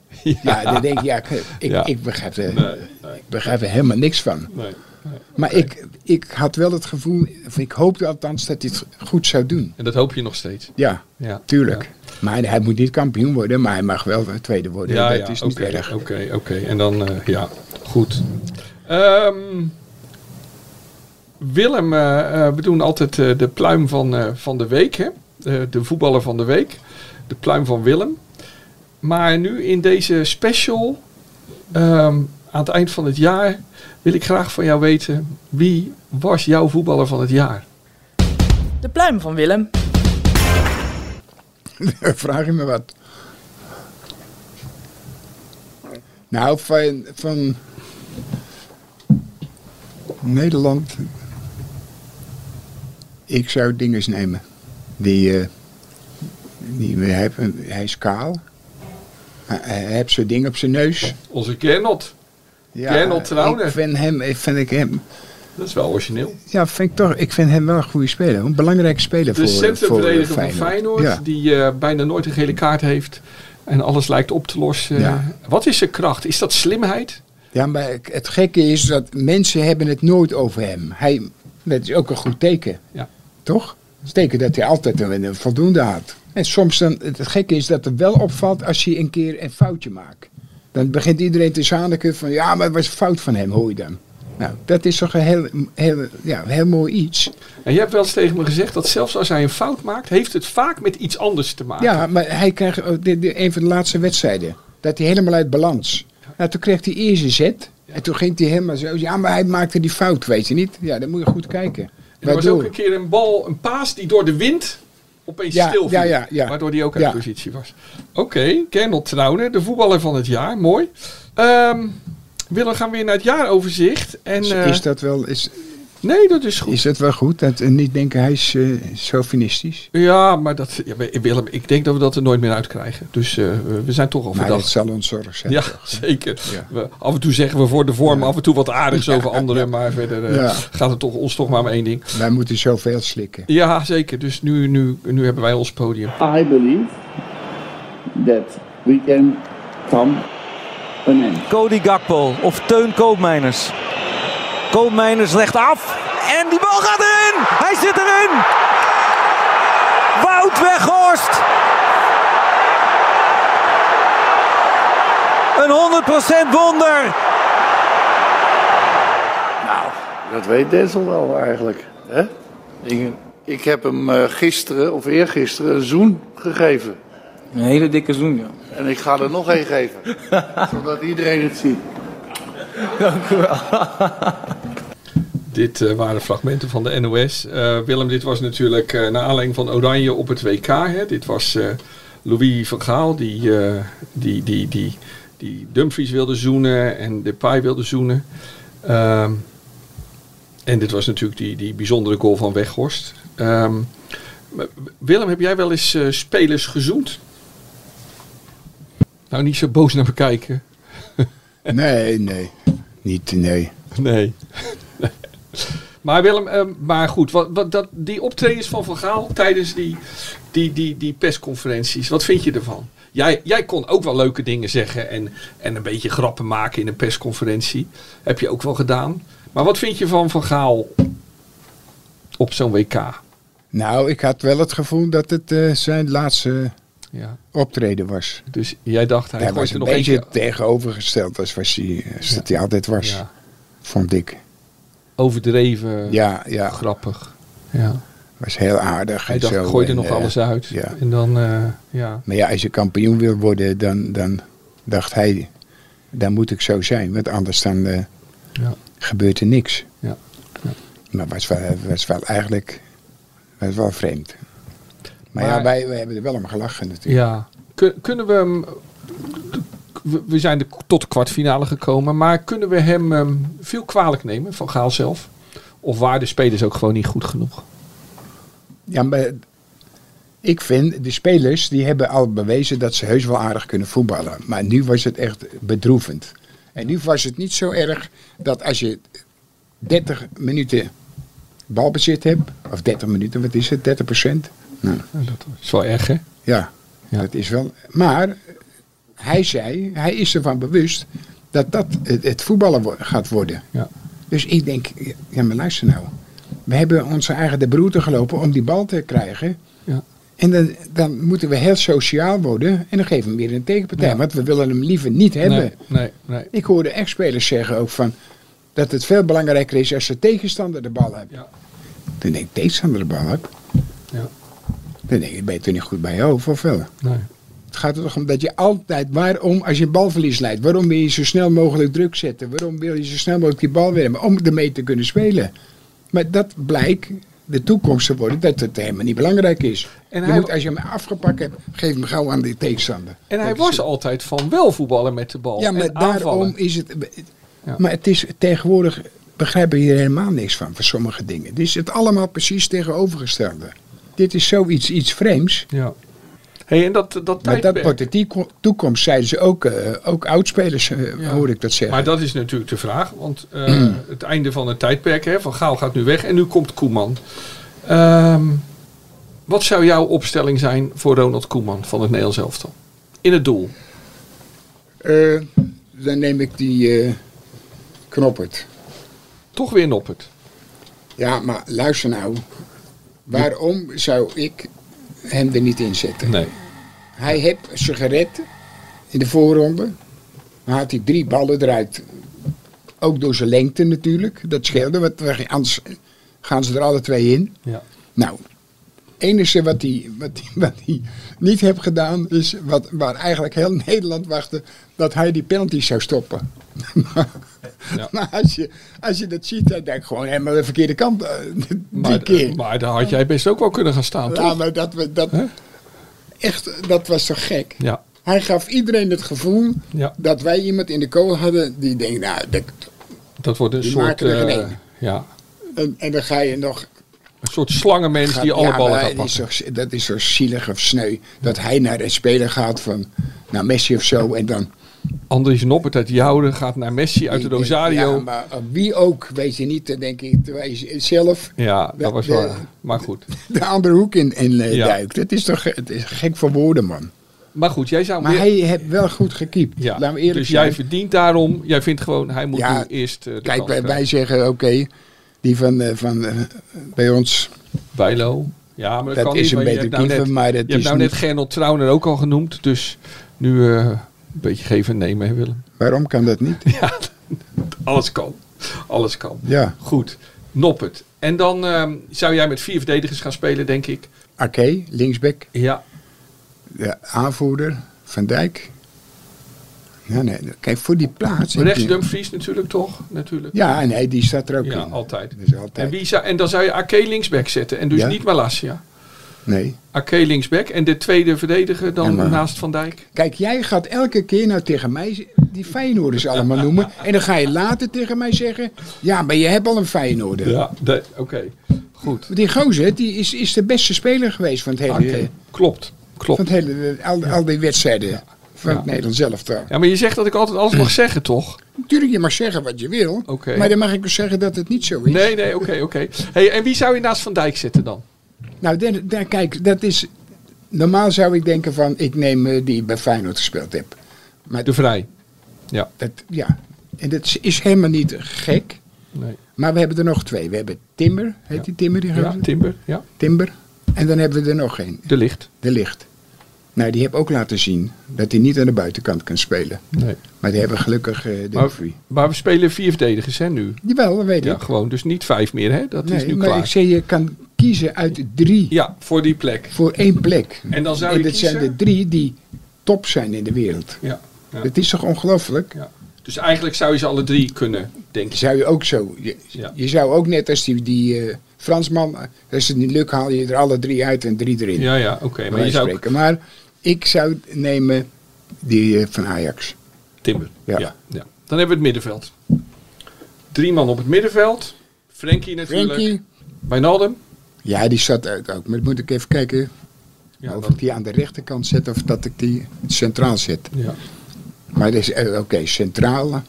B: Ja, dan denk ik, ja,
C: *laughs*
B: ik, ik,
C: Ja.
B: ik begrijp, er,
C: Nee, nee.
B: ik begrijp er helemaal niks van.
C: Nee.
B: Maar ik, ik had wel het gevoel, of ik hoopte althans dat hij het goed zou doen.
C: En dat hoop je nog steeds.
B: Ja,
C: Ja.
B: tuurlijk. Maar hij moet niet kampioen worden, maar hij mag wel de tweede worden.
C: Ja,
B: dat
C: ja,
B: is
C: oké.
B: niet erg.
C: Oké, oké. En dan, eh, ja, goed. Ehm, Willem, eh, eh, we doen altijd eh, de pluim van, eh, van de week, hè? Eh, de voetballer van de week. De pluim van Willem. Maar nu in deze special, ehm, aan het eind van het jaar, wil ik graag van jou weten, wie was jouw voetballer van het jaar?
D: De pluim van Willem.
B: *laughs* Vraag je me wat? Nou, van, van Nederland. Ik zou dinges nemen. Die, eh, die we hebben, hij is kaal. Hij, hij heeft zo'n ding op zijn neus.
C: Onze Gernot. Gernot Trauner.
B: Ik vind hem, ik vind ik hem,
C: Dat is wel origineel.
B: ja, vind ik toch, ik vind hem wel een goede speler. Een belangrijke speler
C: De
B: voor, voor
C: centrumverdediger van
B: Feyenoord.
C: Feyenoord,
B: Ja.
C: die eh, bijna nooit een gele kaart heeft en alles lijkt op te lossen.
B: Ja.
C: Wat is zijn kracht? Is dat slimheid?
B: Ja, maar ik- het gekke is dat mensen hebben het nooit over hem. Hij, dat is ook een goed teken.
C: Ja.
B: Toch? Dat is teken dat hij altijd een, een voldoende had. En soms dan, het het gekke is dat het wel opvalt als hij een keer een foutje maakt. Dan begint iedereen te zaniken van, ja, maar het was fout van hem, hoor je dan. Nou, dat is toch een heel, heel, ja, een heel mooi iets.
C: En je hebt wel eens tegen me gezegd dat zelfs als hij een fout maakt, heeft het vaak met iets anders te maken.
B: Ja, maar hij kreeg ook de, de- een van de laatste wedstrijden. Dat hij helemaal uit balans. Nou, toen kreeg hij eerst een zet. En toen ging hij helemaal zo. Ja, maar hij maakte die fout, weet je niet? Ja, dan moet je goed kijken.
C: er was ook
B: Waardoor,
C: een keer een bal, een paas die door de wind opeens
B: Ja,
C: stil viel,
B: ja, ja, ja.
C: waardoor hij ook uit
B: Ja.
C: positie was. Oké, Kernel Trauner, de voetballer van het jaar, mooi. Ehm Willem, gaan we weer naar het jaaroverzicht. En,
B: is,
C: eh,
B: is dat wel, is,
C: Nee, dat is goed.
B: is dat wel goed? Dat eh, niet denken, hij is eh chauvinistisch.
C: Ja, maar dat, ja, maar Willem, ik denk dat we dat er nooit meer uitkrijgen. Dus eh, we zijn toch al
B: Maar dat
C: verdacht.
B: zal ons zorg zijn.
C: *laughs* Ja, zeker.
B: Ja.
C: We, af en toe zeggen we voor de vorm af en toe wat aardigs over anderen. Maar verder eh,
B: Ja.
C: gaat het toch, ons toch maar om één ding.
B: Wij moeten zoveel slikken.
C: Ja, zeker. Dus nu, nu, nu hebben wij ons podium.
K: I believe that we can come an end.
E: Cody Gakpo of Teun Koopmeiners. Koopmeiners legt af. En die bal gaat erin! Hij zit erin! Wout Weghorst! Een 100% wonder!
L: Dat weet Denzel wel eigenlijk. Hè? Ik, ik heb hem eh, gisteren of eergisteren een zoen gegeven.
M: Een hele dikke zoen, ja.
L: En ik ga er nog één geven. zodat iedereen het ziet.
M: Dank u wel.
C: Dit eh, waren fragmenten van de NOS. Eh, Willem, dit was natuurlijk eh naar aanleiding van Oranje op het WK. Hè. Dit was eh, Louis van Gaal die, eh, die, die, die, die Dumfries wilde zoenen en Depay wilde zoenen. Ehm, en dit was natuurlijk die, die bijzondere goal van Weghorst. Ehm, maar Willem, heb jij wel eens eh, spelers gezoend? Nou, niet zo boos naar me kijken.
B: Nee, nee. Niet, nee.
C: Nee. Maar Willem, eh, maar goed, wat, wat, dat, die optredens van Van Gaal tijdens die, die, die, die persconferenties, wat vind je ervan? Jij, jij kon ook wel leuke dingen zeggen en, en een beetje grappen maken in een persconferentie. Heb je ook wel gedaan. Maar wat vind je van Van Gaal op zo'n WK?
B: Nou, ik had wel het gevoel dat het eh, zijn laatste
C: Ja.
B: optreden was.
C: Dus jij dacht, hij
B: Hij
C: gooit
B: was
C: er
B: een
C: nog eentje-
B: beetje tegenovergesteld als, was hij, als dat hij altijd was.
C: Ja.
B: Vond ik.
C: Overdreven,
B: Ja, ja.
C: grappig. Ja.
B: Was heel aardig.
C: Hij
B: en
C: dacht,
B: zo.
C: gooi er
B: En,
C: nog
B: eh,
C: alles uit.
B: Ja.
C: En dan, eh, ja.
B: Maar ja, als je kampioen wil worden, dan, dan dacht hij, dan moet ik zo zijn. Want anders dan eh,
C: Ja.
B: gebeurt er niks.
C: Ja.
B: Maar was wel, was wel eigenlijk, was wel vreemd. Maar,
C: Maar-
B: ja, wij, wij hebben er wel om gelachen natuurlijk.
C: Ja. Kun- Kunnen we hem. we- We zijn de, tot de kwartfinale gekomen. Maar kunnen we hem ehm, veel kwalijk nemen van Gaal zelf? Of waren de spelers ook gewoon niet goed genoeg?
B: Ja, maar ik vind, de spelers die hebben al bewezen dat ze heus wel aardig kunnen voetballen. Maar nu was het echt bedroevend. En nu was het niet zo erg dat als je 30 minuten balbezit hebt, of 30 minuten, wat is het, 30 procent? Nou,
C: Dat is wel erg, hè?
B: Ja, Dat is wel, maar hij zei, hij is ervan bewust dat dat het, het voetballen wo- gaat worden. Dus ik denk, ja maar luister nou. We hebben onze eigen de broer te gelopen om die bal te krijgen.
N: Ja.
B: En dan, dan moeten we heel sociaal worden. En dan geven we hem weer een tegenpartij.
C: Ja.
B: Want we willen hem liever niet hebben.
C: Nee, nee, nee.
B: Ik hoorde echt spelers zeggen ook van... dat het veel belangrijker is als de tegenstander de bal hebt. Dan denk ik, tegenstander de bal heb.
C: Ja.
B: Dan denk ik, ben je er niet goed bij je hoofd of wel?
C: Nee.
B: Het gaat er toch om dat je altijd, waarom, als je een balverlies leidt, waarom wil je zo snel mogelijk druk zetten? Waarom wil je zo snel mogelijk die bal weer hebben? Om ermee te kunnen spelen. Maar dat blijkt de toekomst te worden dat het helemaal niet belangrijk is.
C: En
B: je
C: hij-
B: moet, als je hem afgepakt hebt, geef hem gauw aan die tegenstander.
C: En hij
B: Dat is
C: was
B: het.
C: altijd van wel voetballen met de bal.
B: Ja, maar
C: en
B: daarom
C: aanvallen.
B: is het. Maar het is tegenwoordig begrijpen we hier helemaal niks van, van sommige dingen. Dit is het allemaal precies tegenovergestelde. Dit is zoiets iets vreemds.
C: Ja. Hey, en dat, dat
B: Maar dat
C: tijdperk.
B: wordt de tieko- toekomst, zeiden ze ook, eh, ook oudspelers, eh,
C: Ja.
B: hoor ik dat zeggen.
C: Maar dat is natuurlijk de vraag. Want eh, *clears throat* het einde van het tijdperk, hè, Van Gaal gaat nu weg en nu komt Koeman. Ehm, wat zou jouw opstelling zijn voor Ronald Koeman van het Nederlands elftal? In het doel.
B: Eh, dan neem ik die eh knoppert.
C: Toch weer Noppert.
B: Ja, maar luister nou. Waarom zou ik hem er niet in zetten?
C: Nee.
B: Hij heeft ze gered in de voorronde. Dan had hij drie ballen eruit. Ook door zijn lengte natuurlijk. Dat scheelde, want we- anders gaan ze er alle twee in.
C: Ja.
B: Nou, het enige wat hij, wat, hij, wat hij niet heeft gedaan is wat, waar eigenlijk heel Nederland wachtte, dat hij die penalty zou stoppen.
C: *laughs* Ja.
B: maar als je, als je dat ziet, dan denk ik gewoon helemaal de verkeerde kant. eh, *laughs* Die
C: Maar, eh,
B: keer.
C: maar daar had jij best ook wel kunnen gaan staan,
B: ja,
C: toch?
B: maar dat, we- dat, echt, dat was toch gek?
C: Ja.
B: Hij gaf iedereen het gevoel
C: Ja.
B: dat wij iemand in de kool hadden die denkt, nou, dat,
C: Dat wordt een
B: Die
C: soort...
B: maken er geen
C: eh,
B: één.
C: ja.
B: en, en dan ga je nog
C: Een soort slangenmens
B: Gaat-
C: die alle
B: ja,
C: ballen
B: maar
C: gaat
B: dat
C: pakken.
B: is, toch- dat is zo zielig of sneu. Dat hij naar een speler gaat van naar Messi of zo. En dan,
C: Andries Noppert uit Jouwen gaat naar Messi uit de Rosario.
B: Ja, maar wie ook, weet je niet, dan denk ik, terwijl je zelf
C: Ja, dat
B: De-
C: was
B: de-
C: wel. Maar goed.
B: de andere hoek in, in eh,
C: Ja.
B: duikt. Het is toch het is gek voor woorden, man.
C: Maar goed, jij zou.
B: Maar
C: weer-
B: hij heeft wel goed gekiept.
C: ja,
B: Laten we eerlijk
C: dus
B: zijn.
C: jij verdient daarom. Jij vindt gewoon, hij moet
B: Ja,
C: nu eerst. eh, de
B: Kijk,
C: kans
B: wij, wij
C: krijgen.
B: zeggen, oké, die van, eh, van eh, bij ons,
C: Bijlo. Ja, maar dat,
B: Dat
C: kan
B: is
C: niet,
B: een
C: want je
B: beter
C: hebt nou
B: keeper,
C: net-
B: maar dat
C: Je hebt
B: is
C: nou net
B: niet-
C: Gernot Trauner ook al genoemd. Dus nu eh, een beetje geven en nemen, hè, Willem. *laughs*
B: waarom kan dat niet?
C: Ja, alles kan. Alles kan.
B: Ja.
C: Goed, Noppert. En dan eh, zou jij met vier verdedigers gaan spelen, denk ik.
B: Oké, linksback.
C: Ja.
B: De aanvoerder, Van Dijk. Ja, nee, kijk, voor die plaats... heb
C: Rechts
B: je-
C: Dumfries natuurlijk, toch? Natuurlijk.
B: Ja, nee, die staat er ook
C: Ja,
B: in.
C: altijd.
B: Dus altijd.
C: En, wie zou, en dan zou je AK linksback zetten. En dus
B: Ja.
C: niet Malasia.
B: Nee.
C: AK linksback. En de tweede verdediger dan
B: Ja, maar-
C: naast Van Dijk.
B: Kijk, jij gaat elke keer nou tegen mij die Feyenoorders allemaal noemen. En dan ga je later tegen mij zeggen... Ja, maar je hebt al een Feyenoorder.
C: Ja, de- oké. Goed.
B: Die gozer, die is, is de beste speler geweest van het hele...
C: Oké, Klopt. Klopt.
B: Van het hele al, al die wedstrijden van
C: Ja.
B: het Nederlands zelf trouwens.
C: Ja, maar je zegt dat ik altijd alles mag zeggen, toch?
B: Natuurlijk, je mag zeggen wat je wil.
C: Oké.
B: Maar dan mag ik ook zeggen dat het niet zo is.
C: Nee, nee, oké, oké. Hey, en wie zou je naast Van Dijk zetten dan?
B: Nou, daar, daar- kijk, dat is... Normaal zou ik denken van, ik neem eh, die bij Feyenoord gespeeld heb. Maar
C: De Vrij. Ja.
B: Dat, ja, en dat is- is helemaal niet gek.
C: Nee.
B: Maar we hebben er nog twee. We hebben Timber, heet die Timber? Die
C: Ja,
B: gozer?
C: Timber. Ja.
B: Timber. En dan hebben we er nog één,
C: De Licht.
B: De Licht. Nou, die heb ook laten zien dat hij niet aan de buitenkant kan spelen.
C: Nee.
B: Maar die hebben gelukkig eh
C: Maar,
B: Dumfries.
C: maar we spelen vier verdedigers, hè, nu.
B: Jawel, dat weet
C: Ja,
B: ik.
C: gewoon. Dus niet vijf meer, hè. Dat is
B: Nee,
C: nu
B: maar
C: klaar.
B: ik zei, je kan kiezen uit drie
C: Ja, voor die plek.
B: voor één plek.
C: En dan zou
B: en
C: je
B: dat
C: kiezen...
B: zijn de drie die top zijn in de wereld.
C: Ja, ja.
B: Het is toch ongelooflijk?
C: Ja. Dus eigenlijk zou je ze alle drie kunnen, denk ik.
B: Zou je ook zo... Je,
C: Ja.
B: je zou ook net als die, die eh, Fransman... eh, Als het niet lukt, haal je er alle drie uit en drie erin.
C: Ja, ja, oké.
B: Bij
C: maar je
B: wijze
C: zou ook
B: spreken. Maar ik zou nemen die eh, van Ajax.
C: Timber. Ja.
B: Ja.
C: Ja, Dan hebben we het middenveld. Drie man op het middenveld. Frenkie natuurlijk.
B: Frenkie.
C: Wijnaldum.
B: Ja, die staat uit ook. Maar moet ik even kijken
C: Ja,
B: of
C: dat-
B: ik die aan de rechterkant zet of dat ik die centraal zet.
C: ja.
B: Maar dat is, eh, oké, centrale.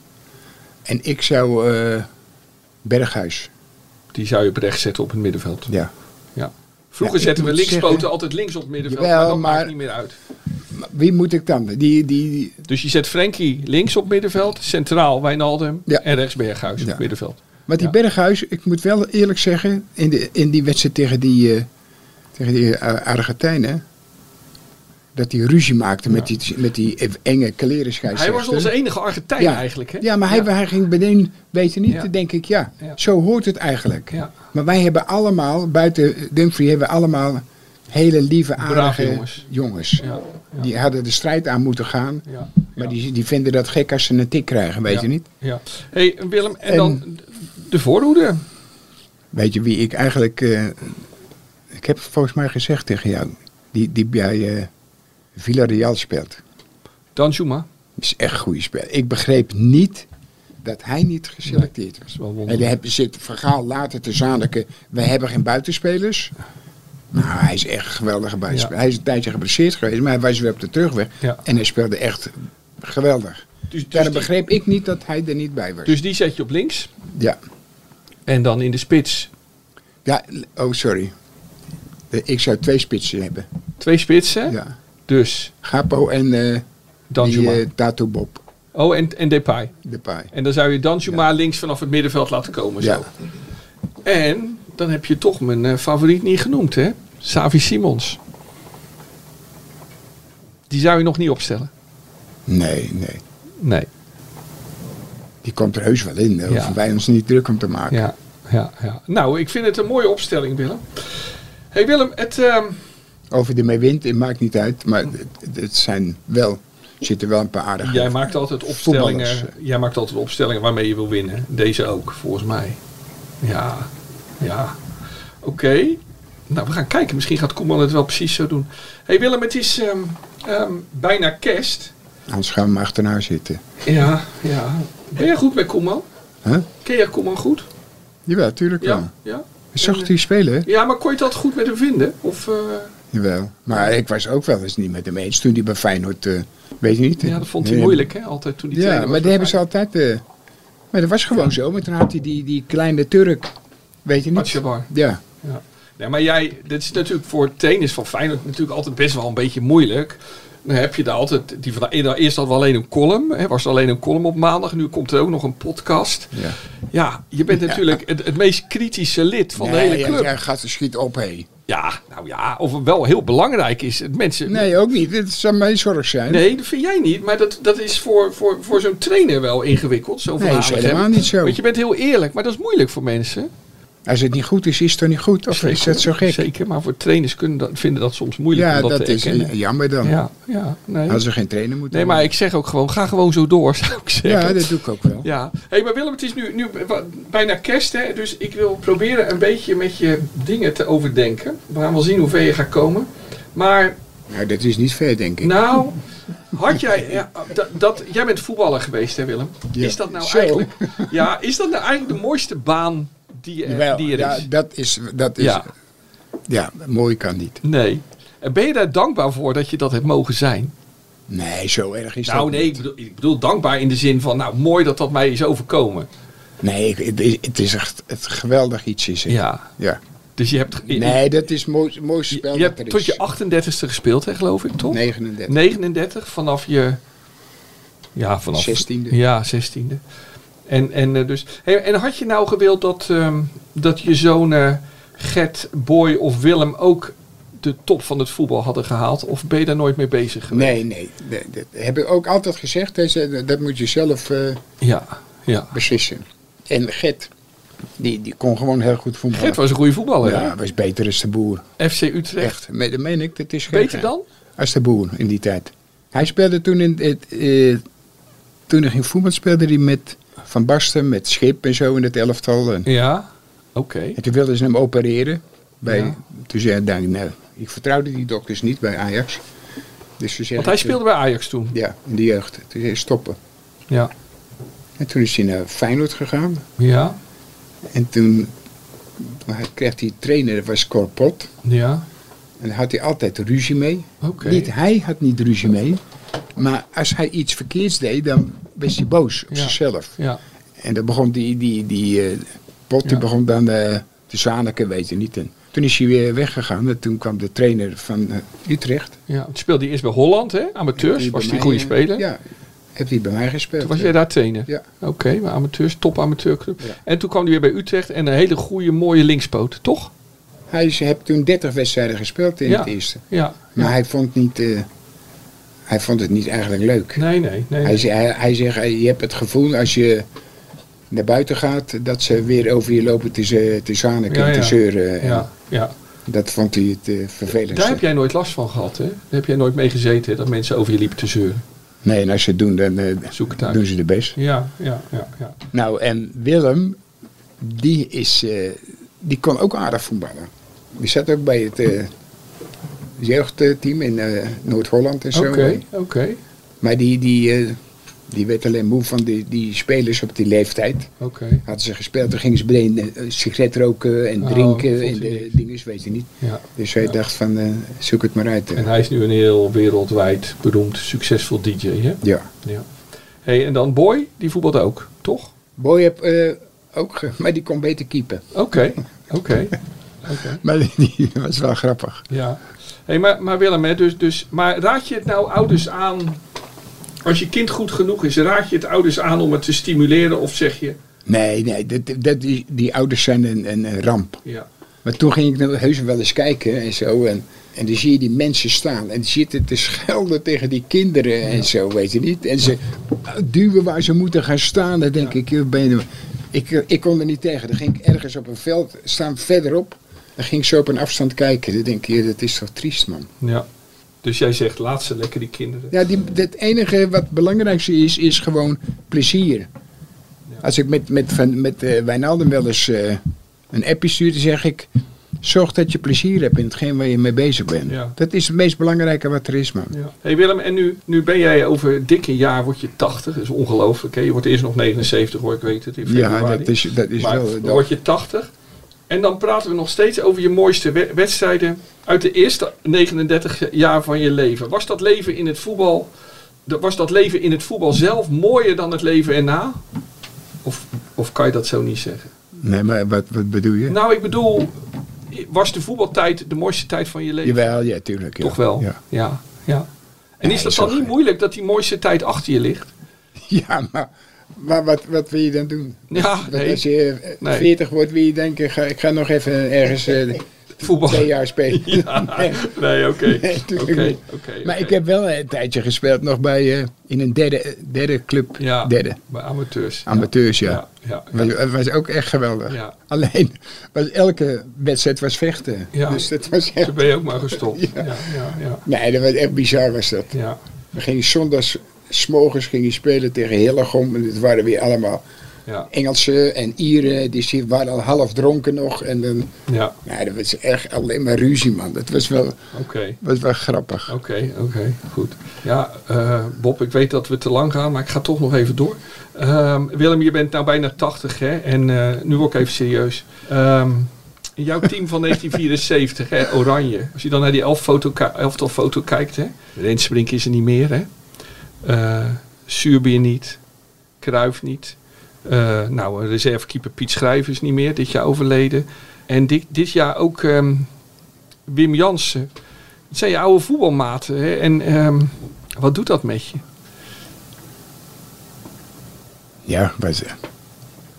B: En ik zou eh, Berghuis.
C: Die zou je op rechts zetten op het middenveld.
B: Ja.
C: Ja. Vroeger
B: Ja, ik
C: zetten we
B: moet
C: linkspoten
B: zeggen-
C: altijd links op het middenveld.
B: Jawel,
C: maar dat maakt
B: maar-
C: niet meer uit.
B: Wie moet ik dan? Die, die,
C: Dus je zet Frenkie links op middenveld, centraal Wijnaldum en rechts Berghuis op middenveld.
B: Maar die Berghuis, ik moet wel eerlijk zeggen, in, de, in die wedstrijd tegen die, eh, tegen die eh, Argentijnen, dat hij ruzie maakte met, die, met die enge kleren
C: Hij was onze enige Argentijn
B: Ja.
C: eigenlijk. Hè?
B: Ja, maar hij, hij ging beneden weten niet. Dan denk ik, ja, zo hoort het eigenlijk. Maar wij hebben allemaal, buiten Dumfries, hebben we allemaal hele lieve,
C: Brave
B: aardige
C: jongens.
B: jongens. Die hadden de strijd aan moeten gaan.
C: Ja,
B: Maar die, die vinden dat gek als ze een tik krijgen, weet
C: Ja.
B: je niet?
C: Ja. Hey, Willem, en,
B: En-
C: dan de voorhoede.
B: Weet je wie ik eigenlijk... eh, ik heb volgens mij gezegd tegen jou. Die, die bij eh Villarreal speelt.
C: Danjuma.
B: is echt een goede speler. Ik begreep niet dat hij niet geselecteerd was. en daar heb- zit verhaal later te zaniken. We hebben geen buitenspelers. Nou, hij is echt een geweldige buitenspeler. Hij is een tijdje geblesseerd geweest, maar hij was weer op de terugweg.
C: Ja.
B: En hij speelde echt geweldig. Daarom begreep ik niet dat hij er niet bij was.
C: Dus die zet je op links.
B: Ja.
C: En dan in de spits?
B: Ja, l- oh sorry. Eh, Ik zou twee spitsen hebben.
C: Twee spitsen?
B: Ja.
C: Dus?
B: Gapo en eh
C: Danjuma.
B: die eh, Tato Bob.
C: Oh, en, en Depay.
B: Depay.
C: En dan zou je Danjuma links vanaf het middenveld laten komen. Zo.
B: Ja.
C: En dan heb je toch mijn eh, favoriet niet genoemd, hè? Savi Simons. Die zou je nog niet opstellen.
B: Nee, nee.
C: Nee.
B: Die komt er heus wel in. Daar
C: Ja.
B: hoeven wij ons niet druk om te maken.
C: Ja, ja, ja. Nou, ik vind het een mooie opstelling, Willem. hey Willem, het, ehm,
B: Of je ermee wint, het maakt niet uit. Maar het, het zijn wel, zitten wel een paar aardige
C: jij maakt altijd opstellingen.
B: voetballers.
C: Jij maakt altijd opstellingen waarmee je wil winnen. Deze ook, volgens mij. Ja, ja. Oké. Nou, we gaan kijken. Misschien gaat Koeman het wel precies zo doen. hey Willem, het is ehm, ehm, bijna kerst.
B: Anders gaan we maar achterna zitten.
C: Ja, ja. Ben jij goed bij Koeman?
B: Huh?
C: Ken jij Koeman goed?
B: Jawel, tuurlijk wel.
C: Ja, ja.
B: Zag hij spelen? hè?
C: Ja, maar kon je dat goed met hem vinden? Of, eh,
B: Jawel. Maar ik was ook wel eens niet met hem eens toen hij bij Feyenoord, eh, weet je niet.
C: ja, dat vond hij
B: eh,
C: moeilijk, hè? Altijd toen hij
B: Ja,
C: trainer was
B: maar die hebben ze altijd... eh, maar dat was gewoon zo. Maar toen had hij die, die kleine Turk, weet je niet.
C: Atjabar.
B: Ja.
C: Ja. Nee, maar jij, dit is natuurlijk voor tennis van Feyenoord natuurlijk altijd best wel een beetje moeilijk. Dan heb je daar altijd, die van, e-, nou, eerst hadden we alleen een column, hè, was er alleen een column op maandag, nu komt er ook nog een podcast.
B: Ja.
C: Ja, je bent natuurlijk het, het meest kritische lid van de
B: Nee,
C: hele
B: ja,
C: club.
B: jij
C: Ja,
B: gaat er schiet op, hé.
C: nou ja, of het wel heel belangrijk is, het mensen...
B: Nee, ook niet. Het zou mijn zorg zijn.
C: Nee, dat vind jij niet, maar dat, dat is voor, voor, voor zo'n trainer wel ingewikkeld. Zo
B: Nee, is helemaal niet zo.
C: Want je bent heel eerlijk, maar dat is moeilijk voor mensen.
B: Als het niet goed is, is het toch niet goed? Of is dat zo gek?
C: Zeker, maar voor trainers kunnen dat, vinden dat soms moeilijk
B: Ja,
C: om dat,
B: dat
C: te
B: is
C: erkennen.
B: eh, jammer dan.
C: Ja, ja, nee.
B: Als we geen trainer moeten
C: Nee, maar ik zeg ook gewoon, ga gewoon zo door, *laughs* zou ik zeggen.
B: Ja, dat doe ik ook wel.
C: Ja. hey, maar Willem, het is nu, nu wa- bijna kerst, hè? dus ik wil proberen een beetje met je dingen te overdenken. We gaan wel zien hoe ver je gaat komen. Maar,
B: Nou, dat is niet ver, denk ik.
C: nou, had jij, ja, dat, dat, jij bent voetballer geweest, hè Willem?
B: Ja.
C: Is dat nou
B: Zo.
C: eigenlijk, ja, is dat nou eigenlijk de mooiste baan die, eh,
B: Jawel,
C: die er
B: ja,
C: is?
B: dat is, dat is
C: Ja.
B: ja. mooi kan niet.
C: Nee. En ben je daar dankbaar voor dat je dat hebt mogen zijn?
B: Nee, zo erg is
C: nou,
B: dat
C: nee, ik bedoel, ik bedoel dankbaar in de zin van, nou, mooi dat dat mij is overkomen.
B: Nee, ik- het is, het is echt het geweldig iets is het.
C: Ja.
B: ja.
C: Dus je hebt...
B: Nee, dat is het mooi, mooiste spel
C: Je
B: dat
C: hebt
B: er
C: tot
B: is.
C: je 38ste gespeeld, hè, geloof ik, toch?
B: 39.
C: 39, vanaf je... Ja, vanaf...
B: 16e.
C: Ja, 16e. En, en, eh, dus, hey, en had je nou gewild dat, ehm, dat je zoon eh, Gert, Boy of Willem ook de top van het voetbal hadden gehaald? Of ben je daar nooit mee bezig geweest?
B: Nee, nee. Dat, dat heb ik ook altijd gezegd. hè, ze- Dat moet je zelf eh,
C: Ja, ja.
B: beslissen. En Gert, die, die kon gewoon heel goed voetballen.
C: Gert was een goede voetballer,
B: Ja, was beter als de boer.
C: hè? FC Utrecht.
B: Echt, me- dat meen ik. Dat is geen
C: Beter
B: gein.
C: dan?
B: Als de boer in die tijd. Hij speelde toen in het. eh, toen hij ging voetbal speelde hij met Van Basten, met Schip en zo in het elftal. En,
C: Ja, oké.
B: en toen wilden ze hem opereren. Bij,
C: Ja.
B: Toen zei hij, nou, nou, ik vertrouwde die dokters niet bij Ajax. Dus ze
C: Want hij speelde bij Ajax toen.
B: Ja, in de jeugd. Toen zei hij, stoppen.
C: Ja.
B: En toen is hij naar Feyenoord gegaan.
C: Ja,
B: En toen hij kreeg die trainer, dat was Corpot.
C: ja.
B: En daar had hij altijd ruzie mee.
C: Oké.
B: Niet hij had niet ruzie mee. Maar als hij iets verkeerds deed, dan was hij boos op
C: Ja.
B: zichzelf.
C: Ja.
B: En dan begon die, die, die eh, pot, die begon dan eh, De Zaneke weet je niet. En toen is hij weer weggegaan. En toen kwam de trainer van eh, Utrecht.
C: Ja, want speelde hij eerst bij Holland, hè? Amateurs,
B: Die
C: was
B: bij
C: die
B: mij,
C: goede
B: eh,
C: speler.
B: Ja, heb hij bij mij gespeeld.
C: Toen was jij daar trainer?
B: Ja.
C: Oké, maar amateurs, top amateurclub.
B: Ja.
C: En toen kwam hij weer bij Utrecht en een hele goede, mooie linkspoot, toch?
B: Hij is- heeft toen 30 wedstrijden gespeeld in
C: Ja.
B: het eerste.
C: Ja.
B: Maar hij vond niet... eh, hij vond het niet eigenlijk leuk.
C: Nee, nee, nee.
B: Hij, ze- hij, hij zegt, eh, je hebt het gevoel als je naar buiten gaat... dat ze weer over je lopen te, ze- te zaniken
C: Ja,
B: en te
C: ja.
B: zeuren. En
C: Ja, ja.
B: Dat vond hij het eh, vervelendste.
C: Daar heb jij nooit last van gehad, hè? Daar heb jij nooit mee gezeten, hè, dat mensen over je liepen te zeuren.
B: Nee, en als ze het doen, dan eh, doen ze de best.
C: Ja, ja, ja. ja.
B: Nou, en Willem, die, is, eh, die kon ook aardig voetballen. Die zat ook bij het eh, jeugdteam in eh, Noord-Holland en zo.
C: Oké, oké.
B: Maar die, die, eh, die werd alleen moe van die, die spelers op die leeftijd.
C: Oké.
B: Hadden ze gespeeld, dan gingen ze meteen eh, sigaret roken en
C: Oh,
B: drinken
C: vond
B: en
C: hij
B: de dinges, weet je niet.
C: Ja.
B: Dus hij dacht van, eh, zoek het maar uit. eh.
C: En hij is nu een heel wereldwijd beroemd, succesvol DJ, hè?
B: Ja.
C: ja. hey, en dan Boy, die voetbalt ook, toch?
B: Boy heb eh, ook, ge- maar die kon beter keepen.
C: Oké, oké. Oké.
B: Maar die, die was wel grappig.
C: Ja. Hey, maar, maar Willem, hè, dus, dus, maar raad je het nou ouders aan, als je kind goed genoeg is, raad je het ouders aan om het te stimuleren of zeg je,
B: Nee, nee, dat, dat, die, die ouders zijn een, een een ramp.
C: ja,
B: Maar toen ging ik nog heus wel eens kijken en zo. En, en dan zie je die mensen staan en die zitten te schelden tegen die kinderen en zo, weet je niet. En ze duwen waar ze moeten gaan staan. Dan denk ik, joh, ben je nou- ik, ik kon er niet tegen. Dan ging ik ergens op een veld staan verderop. Dan ging ik zo op een afstand kijken. Dan denk ik, joh, dat is toch triest, man.
C: ja. Dus jij zegt, laat ze lekker die kinderen.
B: Ja, die, het enige wat het belangrijkste is, is gewoon plezier. Als ik met, met, van- met eh, Wijnaldum wel eens eh, een appje stuur, dan zeg ik... Zorg dat je plezier hebt in hetgeen waar je mee bezig bent.
C: Ja.
B: Dat is het meest belangrijke wat er is, man.
C: Ja. hey Willem, en nu, nu ben jij over dik een jaar, word je 80. Dat is ongelooflijk. Hè? Je wordt eerst nog 79 hoor, ik weet het. In
B: Ja,
C: februari.
B: dat is- dat is
C: maar
B: wel-
C: Dan
B: dat-
C: word je 80. En dan praten we nog steeds over je mooiste we- wedstrijden uit de eerste 39 jaar van je leven. Was dat leven in het voetbal, dat- was dat leven in het voetbal zelf mooier dan het leven erna? Of, of kan je dat zo niet zeggen?
B: Nee, maar wat, wat bedoel je?
C: Nou, ik bedoel, was de voetbaltijd de mooiste tijd van je leven?
B: Jawel, ja, tuurlijk. ja.
C: Toch wel?
B: Ja. *laughs*
C: Ja, ja. En is dat
B: zo
C: dan niet moeilijk dat die mooiste tijd achter je ligt?
B: Ja, maar, maar wat, wat wil je dan doen?
C: Ja,
B: Want
C: nee.
B: Als je eh,
C: Nee.
B: 40 wordt, wil je denken, ik ga, ik ga nog even ergens
C: *laughs*
B: eh,
C: Voetbal.
B: twee jaar
C: *laughs*
B: spelen. Nee.
C: Nee, oké.
B: Nee, natuurlijk
C: Oké,
B: niet.
C: oké,
B: Maar
C: oké.
B: ik heb wel een tijdje gespeeld nog bij, eh, in een derde, eh, derde club.
C: Ja,
B: Derde.
C: bij amateurs.
B: Amateurs, ja.
C: Ja, ja, ja.
B: Was, het was ook echt geweldig.
C: Ja.
B: Alleen, was, elke wedstrijd was vechten.
C: Ja.
B: Dus dat was echt...
C: Toen ben je ook maar gestopt. Ja, ja, ja.
B: Nee, dat was echt bizar was dat.
C: Ja.
B: We gingen zondags, smorgens ging je spelen tegen Hillegom. En het waren weer allemaal
C: Ja.
B: Engelsen en Ieren. Dus Die zie- waren al half dronken nog. En dan,
C: Ja.
B: nee, dat was echt alleen maar ruzie, man. Dat was wel,
C: Oké. Oh.
B: was wel grappig.
C: Oké, oké, goed. Ja, eh, Bob, ik weet dat we te lang gaan, maar ik ga toch nog even door. Ehm, Willem, je bent nou bijna 80, hè? En eh, nu word ik even serieus. Ehm, in jouw team van *laughs* 1974, hè, Oranje. Als je dan naar die elf foto, ki- elftal foto kijkt, hè? Rensbrink is er niet meer, hè? Eh Suurbier niet. Kruif niet. Eh, nou, een reservekeeper Piet Schrijver is niet meer, dit jaar overleden. En dit, dit jaar ook ehm, Wim Jansen. Het zijn je oude voetbalmaten. Hè? En ehm, wat doet dat met je?
B: Ja, was,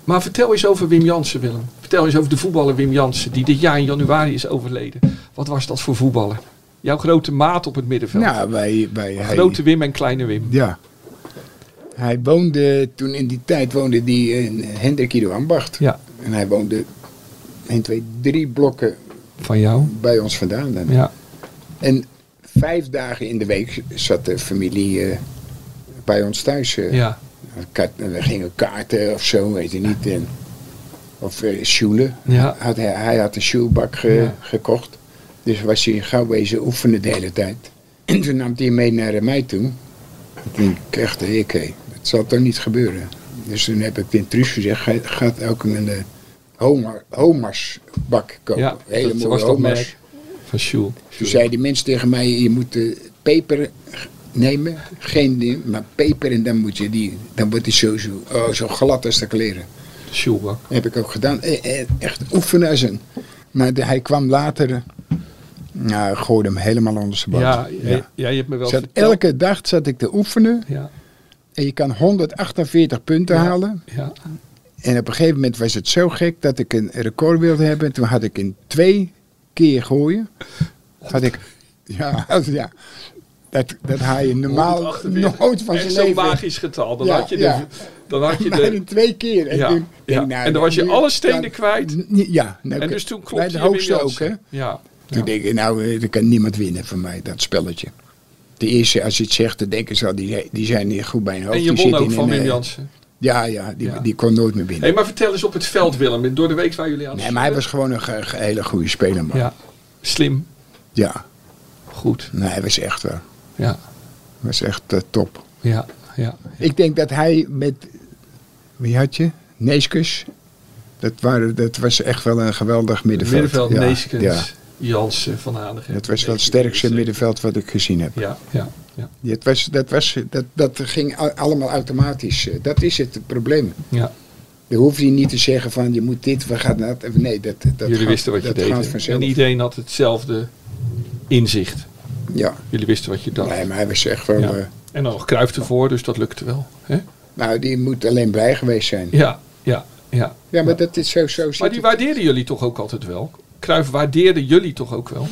C: Maar vertel eens over Wim Jansen, Willem. Vertel eens over de voetballer Wim Jansen, die dit jaar in januari is overleden. Wat was dat voor voetballer? Jouw grote maat op het middenveld.
B: nou, wij... wij hij-
C: grote Wim en kleine Wim.
B: Ja. Hij woonde, toen in die tijd woonde hij in Hendrik Ido Ambacht.
C: Ja.
B: En hij woonde 1, 2, 3 blokken
C: Van jou?
B: bij ons vandaan. En,
C: Ja.
B: en vijf dagen in de week zat de familie eh, bij ons thuis. eh.
C: Ja.
B: Ka- We gingen kaarten of zo, weet je niet. En, of eh sjoelen.
C: Ja.
B: Had hij, hij had een sjoelbak ge-
C: Ja.
B: gekocht. Dus was hij gauw bezig oefenen de hele tijd. En toen nam hij hem mee naar eh, mij toe. Toen kreeg de ik, hé, dat zal toch niet gebeuren. Dus toen heb ik tegen Truus gezegd, ga, gaat ook een eh, Homer, Homersbak kopen.
C: Ja,
B: Hele
C: dat
B: mooie
C: was dat
B: Homers.
C: merk van Sjoel.
B: Toen zei die mensen tegen mij, je moet eh, peper g- nemen, geen ding, maar peper en dan moet je die, dan wordt die zo, zo, oh, zo glad als de kleren.
C: Sjoelbak.
B: Heb ik ook gedaan. E- e- Echt oefenen als een. Maar de- hij kwam later. eh, Nou, gooide hem helemaal onder zijn bal.
C: Ja, ja. ja, je hebt me wel
B: Zat
C: verteld.
B: elke dag zat ik te oefenen.
C: Ja.
B: En je kan 148 punten halen.
C: Ja.
B: En op een gegeven moment was het zo gek dat ik een record wilde hebben. Toen had ik in twee keer gooien. Had ik. Ja, *laughs* ja. Dat, dat haal je normaal
C: 148.
B: nooit van
C: Echt
B: zijn
C: zo'n
B: leven.
C: magisch getal. Dan
B: Ja,
C: had je de...
B: ja.
C: Dan had
B: *laughs*
C: je
B: Maar
C: de
B: in twee keer. En,
C: Ja,
B: toen-
C: ja.
B: nou,
C: En dan was je
B: nu-
C: alle stenen
B: dan-
C: kwijt.
B: N- Ja. nou,
C: En
B: ik-
C: dus toen klopte
B: bij de
C: je
B: hoogste
C: Wim
B: ook, hè?
C: Jansen. Ja.
B: Toen denk ik, nou, eh, er kan niemand winnen van mij, dat spelletje. De eerste, als je het zegt, dan denken ze al, die, die zijn hier goed bij hun hoofd.
C: En je
B: Die
C: won
B: zitten
C: ook
B: in
C: van
B: een,
C: Wim
B: eh,
C: Jansen.
B: Ja, ja die,
C: Ja.
B: die kon nooit meer
C: Hé,
B: winnen.
C: hey, maar vertel eens op het veld, Willem. Door de week waar jullie aan het
B: nee, maar hij was gewoon een, ge- ge- hele goede speler, man.
C: Ja. Slim.
B: Ja.
C: Goed.
B: Nee, hij was echt wel.
C: Ja.
B: was echt eh, top.
C: Ja, ja.
B: Ik denk dat hij met, wie had je? Neeskus. Dat, waren, dat was echt wel een geweldig middenveld.
C: Middenveld,
B: Ja,
C: Neeskens,
B: ja.
C: Jansen, Van Hanegem. eh,
B: Dat was wel het sterkste middenveld wat ik gezien heb.
C: Ja, ja, ja.
B: Dat, was, dat, was, dat, dat ging a- allemaal automatisch. eh, Dat is het probleem.
C: Ja.
B: Dan hoef je niet te zeggen van je moet dit, we gaan dat. Nee, dat, dat
C: Jullie
B: gaat-
C: wisten wat je
B: dat gaat
C: deed. hè?
B: vanzelf.
C: En iedereen had hetzelfde inzicht.
B: Ja.
C: Jullie wisten wat je dacht.
B: Nee, maar hij was echt wel...
C: Ja.
B: eh,
C: En dan nog Kruif ervoor, dus dat lukte wel. Hè?
B: nou, die moet alleen blij geweest zijn.
C: Ja, ja, ja.
B: Ja, maar dat is zo, zo zit
C: Maar die
B: het.
C: waardeerden jullie toch ook altijd wel? Kruif waardeerde jullie toch ook wel?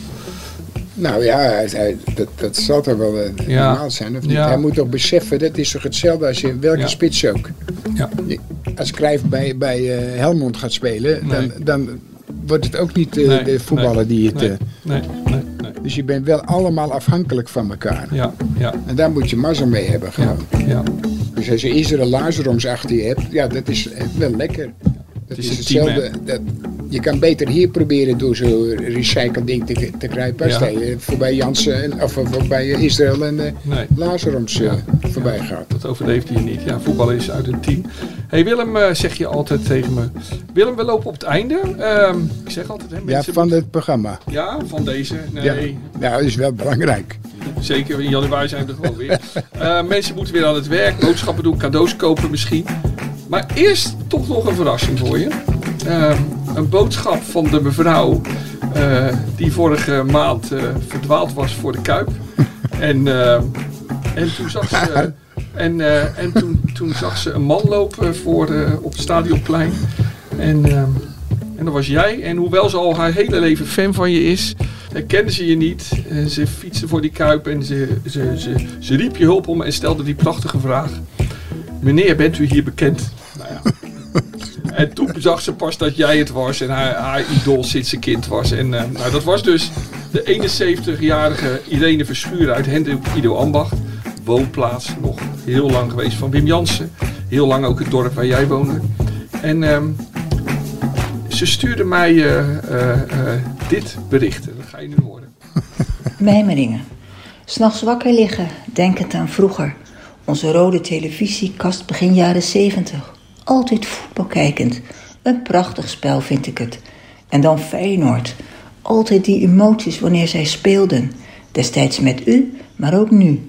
B: Nou ja, hij- hij- dat, dat zal toch wel eh,
C: Ja.
B: normaal zijn, of niet?
C: Ja.
B: Hij moet toch beseffen, dat is toch hetzelfde als je in welke
C: Ja.
B: spits ook.
C: Ja.
B: Je- Als Cruijff bij, bij eh, Helmond gaat spelen,
C: Nee.
B: dan, dan wordt het ook niet eh,
C: Nee,
B: de voetballer
C: nee,
B: die het...
C: nee,
B: eh,
C: nee, nee, nee.
B: Dus je bent wel allemaal afhankelijk van elkaar.
C: Ja, ja.
B: En daar moet je mazzel mee hebben gewoon.
C: Ja.
B: Dus als je Israël Lazaroms achter je hebt, ja, dat is eh, wel lekker. Dat
C: is
B: is,
C: een team,
B: hetzelfde. dat, je kan beter hier proberen door zo'n recycle ding te, te kruipen. Als
C: Ja.
B: dat je voorbij Jansen en, of voorbij eh, Israël en eh
C: Nee.
B: Lazaroms eh, voorbij gaat.
C: Dat overleefde je niet. Ja, voetbal is uit een team. hey Willem, eh, zeg je altijd tegen me. Willem, we lopen op het einde. Ehm, ik zeg altijd, hè,
B: Ja,
C: mensen
B: van het programma.
C: Ja, van deze. Nee,
B: Ja. Nou, dat is wel belangrijk.
C: zeker. In januari zijn we er gewoon weer. Eh, mensen moeten weer aan het werk, boodschappen doen, cadeaus kopen misschien. Maar eerst toch nog een verrassing voor je. Ehm, een boodschap van de mevrouw eh, die vorige maand eh, verdwaald was voor de Kuip. En, ehm, en toen zag ze... eh, en eh, en toen, toen zag ze een man lopen voor, eh, op het stadionplein. En ehm, en dat was jij. En hoewel ze al haar hele leven fan van je is, herkende ze je niet. En ze fietste voor die kuip en ze, ze, ze, ze riep je hulp om en stelde die prachtige vraag. Meneer, bent u hier bekend? Nou ja. En toen zag ze pas dat jij het was en haar, haar idool sinds ze kind was. En eh, nou, dat was dus de 71-jarige Irene Verschuren uit Hendrik Ido Ambacht. Woonplaats nog heel lang geweest van Wim Jansen. Heel lang ook het dorp waar jij woonde. En ehm, ze stuurde mij eh, eh, eh, dit bericht. Dat ga je nu horen.
N: Mijmeringen. S'nachts wakker liggen, denkend aan vroeger. Onze rode televisiekast begin jaren 70. Altijd voetbal kijkend. Een prachtig spel vind ik het. En dan Feyenoord. Altijd die emoties wanneer zij speelden. Destijds met u, maar ook nu.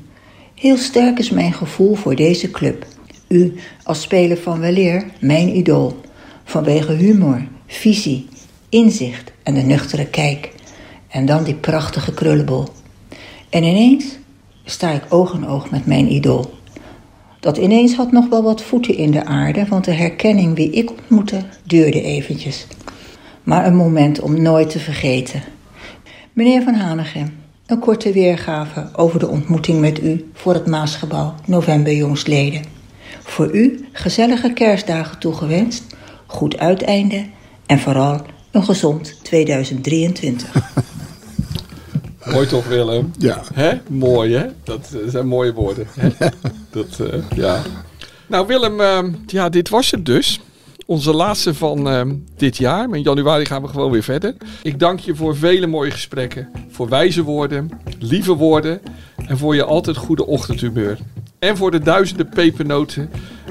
N: Heel sterk is mijn gevoel voor deze club. U, als speler van weleer, mijn idool. Vanwege humor, visie, inzicht en de nuchtere kijk. En dan die prachtige krullenbol. En ineens sta ik oog in oog met mijn idool. Dat ineens had nog wel wat voeten in de aarde, want de herkenning wie ik ontmoette duurde eventjes. Maar een moment om nooit te vergeten. Meneer Van Hanegem, een korte weergave over de ontmoeting met u voor het Maasgebouw, november jongstleden. Voor u gezellige kerstdagen toegewenst, goed uiteinde en vooral een gezond 2023.
C: Mooi toch, Willem?
B: Ja.
C: Hè? Mooi, hè? Dat eh, zijn mooie woorden. Hè? *laughs* Dat, eh, ja. Nou, Willem, ehm, ja, dit was het dus. Onze laatste van ehm, dit jaar. Maar In januari gaan we gewoon weer verder. Ik dank je voor vele mooie gesprekken. Voor wijze woorden, lieve woorden. En voor je altijd goede ochtendhumeur. En voor de duizenden pepernoten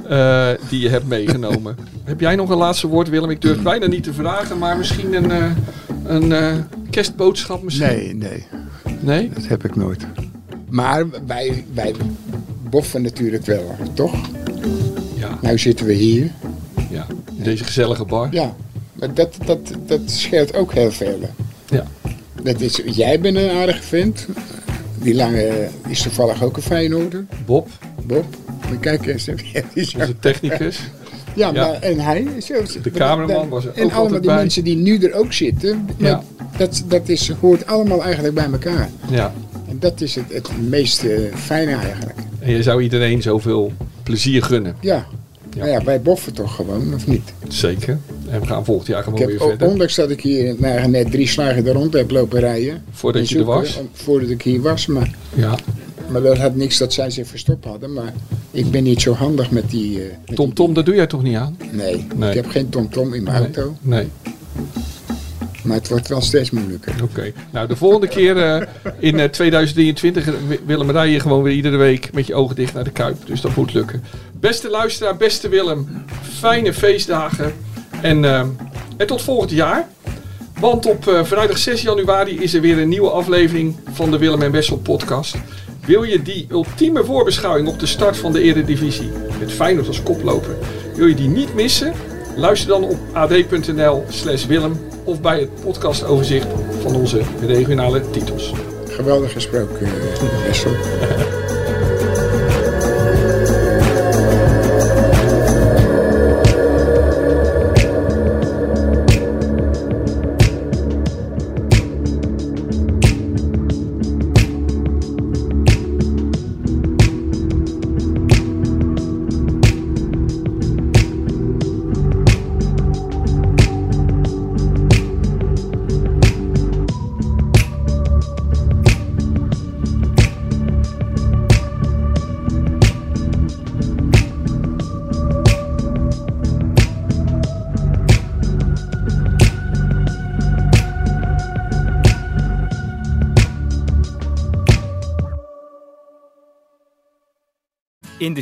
C: eh, die je hebt *laughs* meegenomen. Heb jij nog een laatste woord, Willem? Ik durf het bijna niet te vragen, maar misschien een, eh, een eh, kerstboodschap misschien?
B: Nee, nee.
C: Nee?
B: Dat heb ik nooit. Maar wij, wij boffen natuurlijk wel, toch?
C: Ja.
B: Nou zitten we hier.
C: Ja.
B: Dan
C: deze gezellige bar.
B: Ja, maar dat, dat, dat scheelt ook heel veel.
C: Ja.
B: Dat is, jij bent een aardige vent. Die lange is toevallig ook een Feyenoorder.
C: Bob.
B: Bob. Maar kijk eens. *laughs*
C: Onze technicus.
B: Ja,
C: Ja.
B: maar, en hij. Zo,
C: De cameraman was er ook
B: En allemaal
C: altijd
B: die
C: bij.
B: mensen die nu er ook zitten. maar
C: Ja.
B: Dat, dat is, hoort allemaal eigenlijk bij elkaar.
C: Ja.
B: En dat is het, het meest eh, fijne eigenlijk.
C: En je zou iedereen zoveel plezier gunnen.
B: Ja. Nou ja, wij boffen toch gewoon, of niet?
C: Zeker. En we gaan volgend jaar
B: Ik
C: gewoon weer
B: heb, o-
C: verder.
B: ondanks dat ik hier in het Nijgen net drie slagen er rond heb lopen rijden.
C: Voordat
B: en
C: je er
B: zoeken,
C: was?
B: om- Voordat ik hier was, maar...
C: Ja.
B: Maar dat had niks dat zij zich verstopt hadden. Maar ik ben niet zo handig met die... eh, met
C: Tom Tom, dat doe jij toch niet aan?
B: die- nee,
C: Nee.
B: ik heb geen tomtom in mijn
C: Nee.
B: auto.
C: Nee.
B: Maar het wordt wel steeds moeilijker.
C: Oké. Nou, de volgende keer eh, in eh, 2023 wi- Willem rij je gewoon weer iedere week met je ogen dicht naar de Kuip. Dus dat moet lukken. Beste luisteraar, beste Willem. Fijne feestdagen. En, eh, en tot volgend jaar. Want op eh, vrijdag 6 januari is er weer een nieuwe aflevering van de Willem en Wessel podcast. Wil je die ultieme voorbeschouwing op de start van de Eredivisie met Feyenoord als koploper, wil je die niet missen? Luister dan op ad.nl slash Willem of bij het podcastoverzicht van onze regionale titels.
B: Geweldig gesproken, eh, Wessel.
A: In de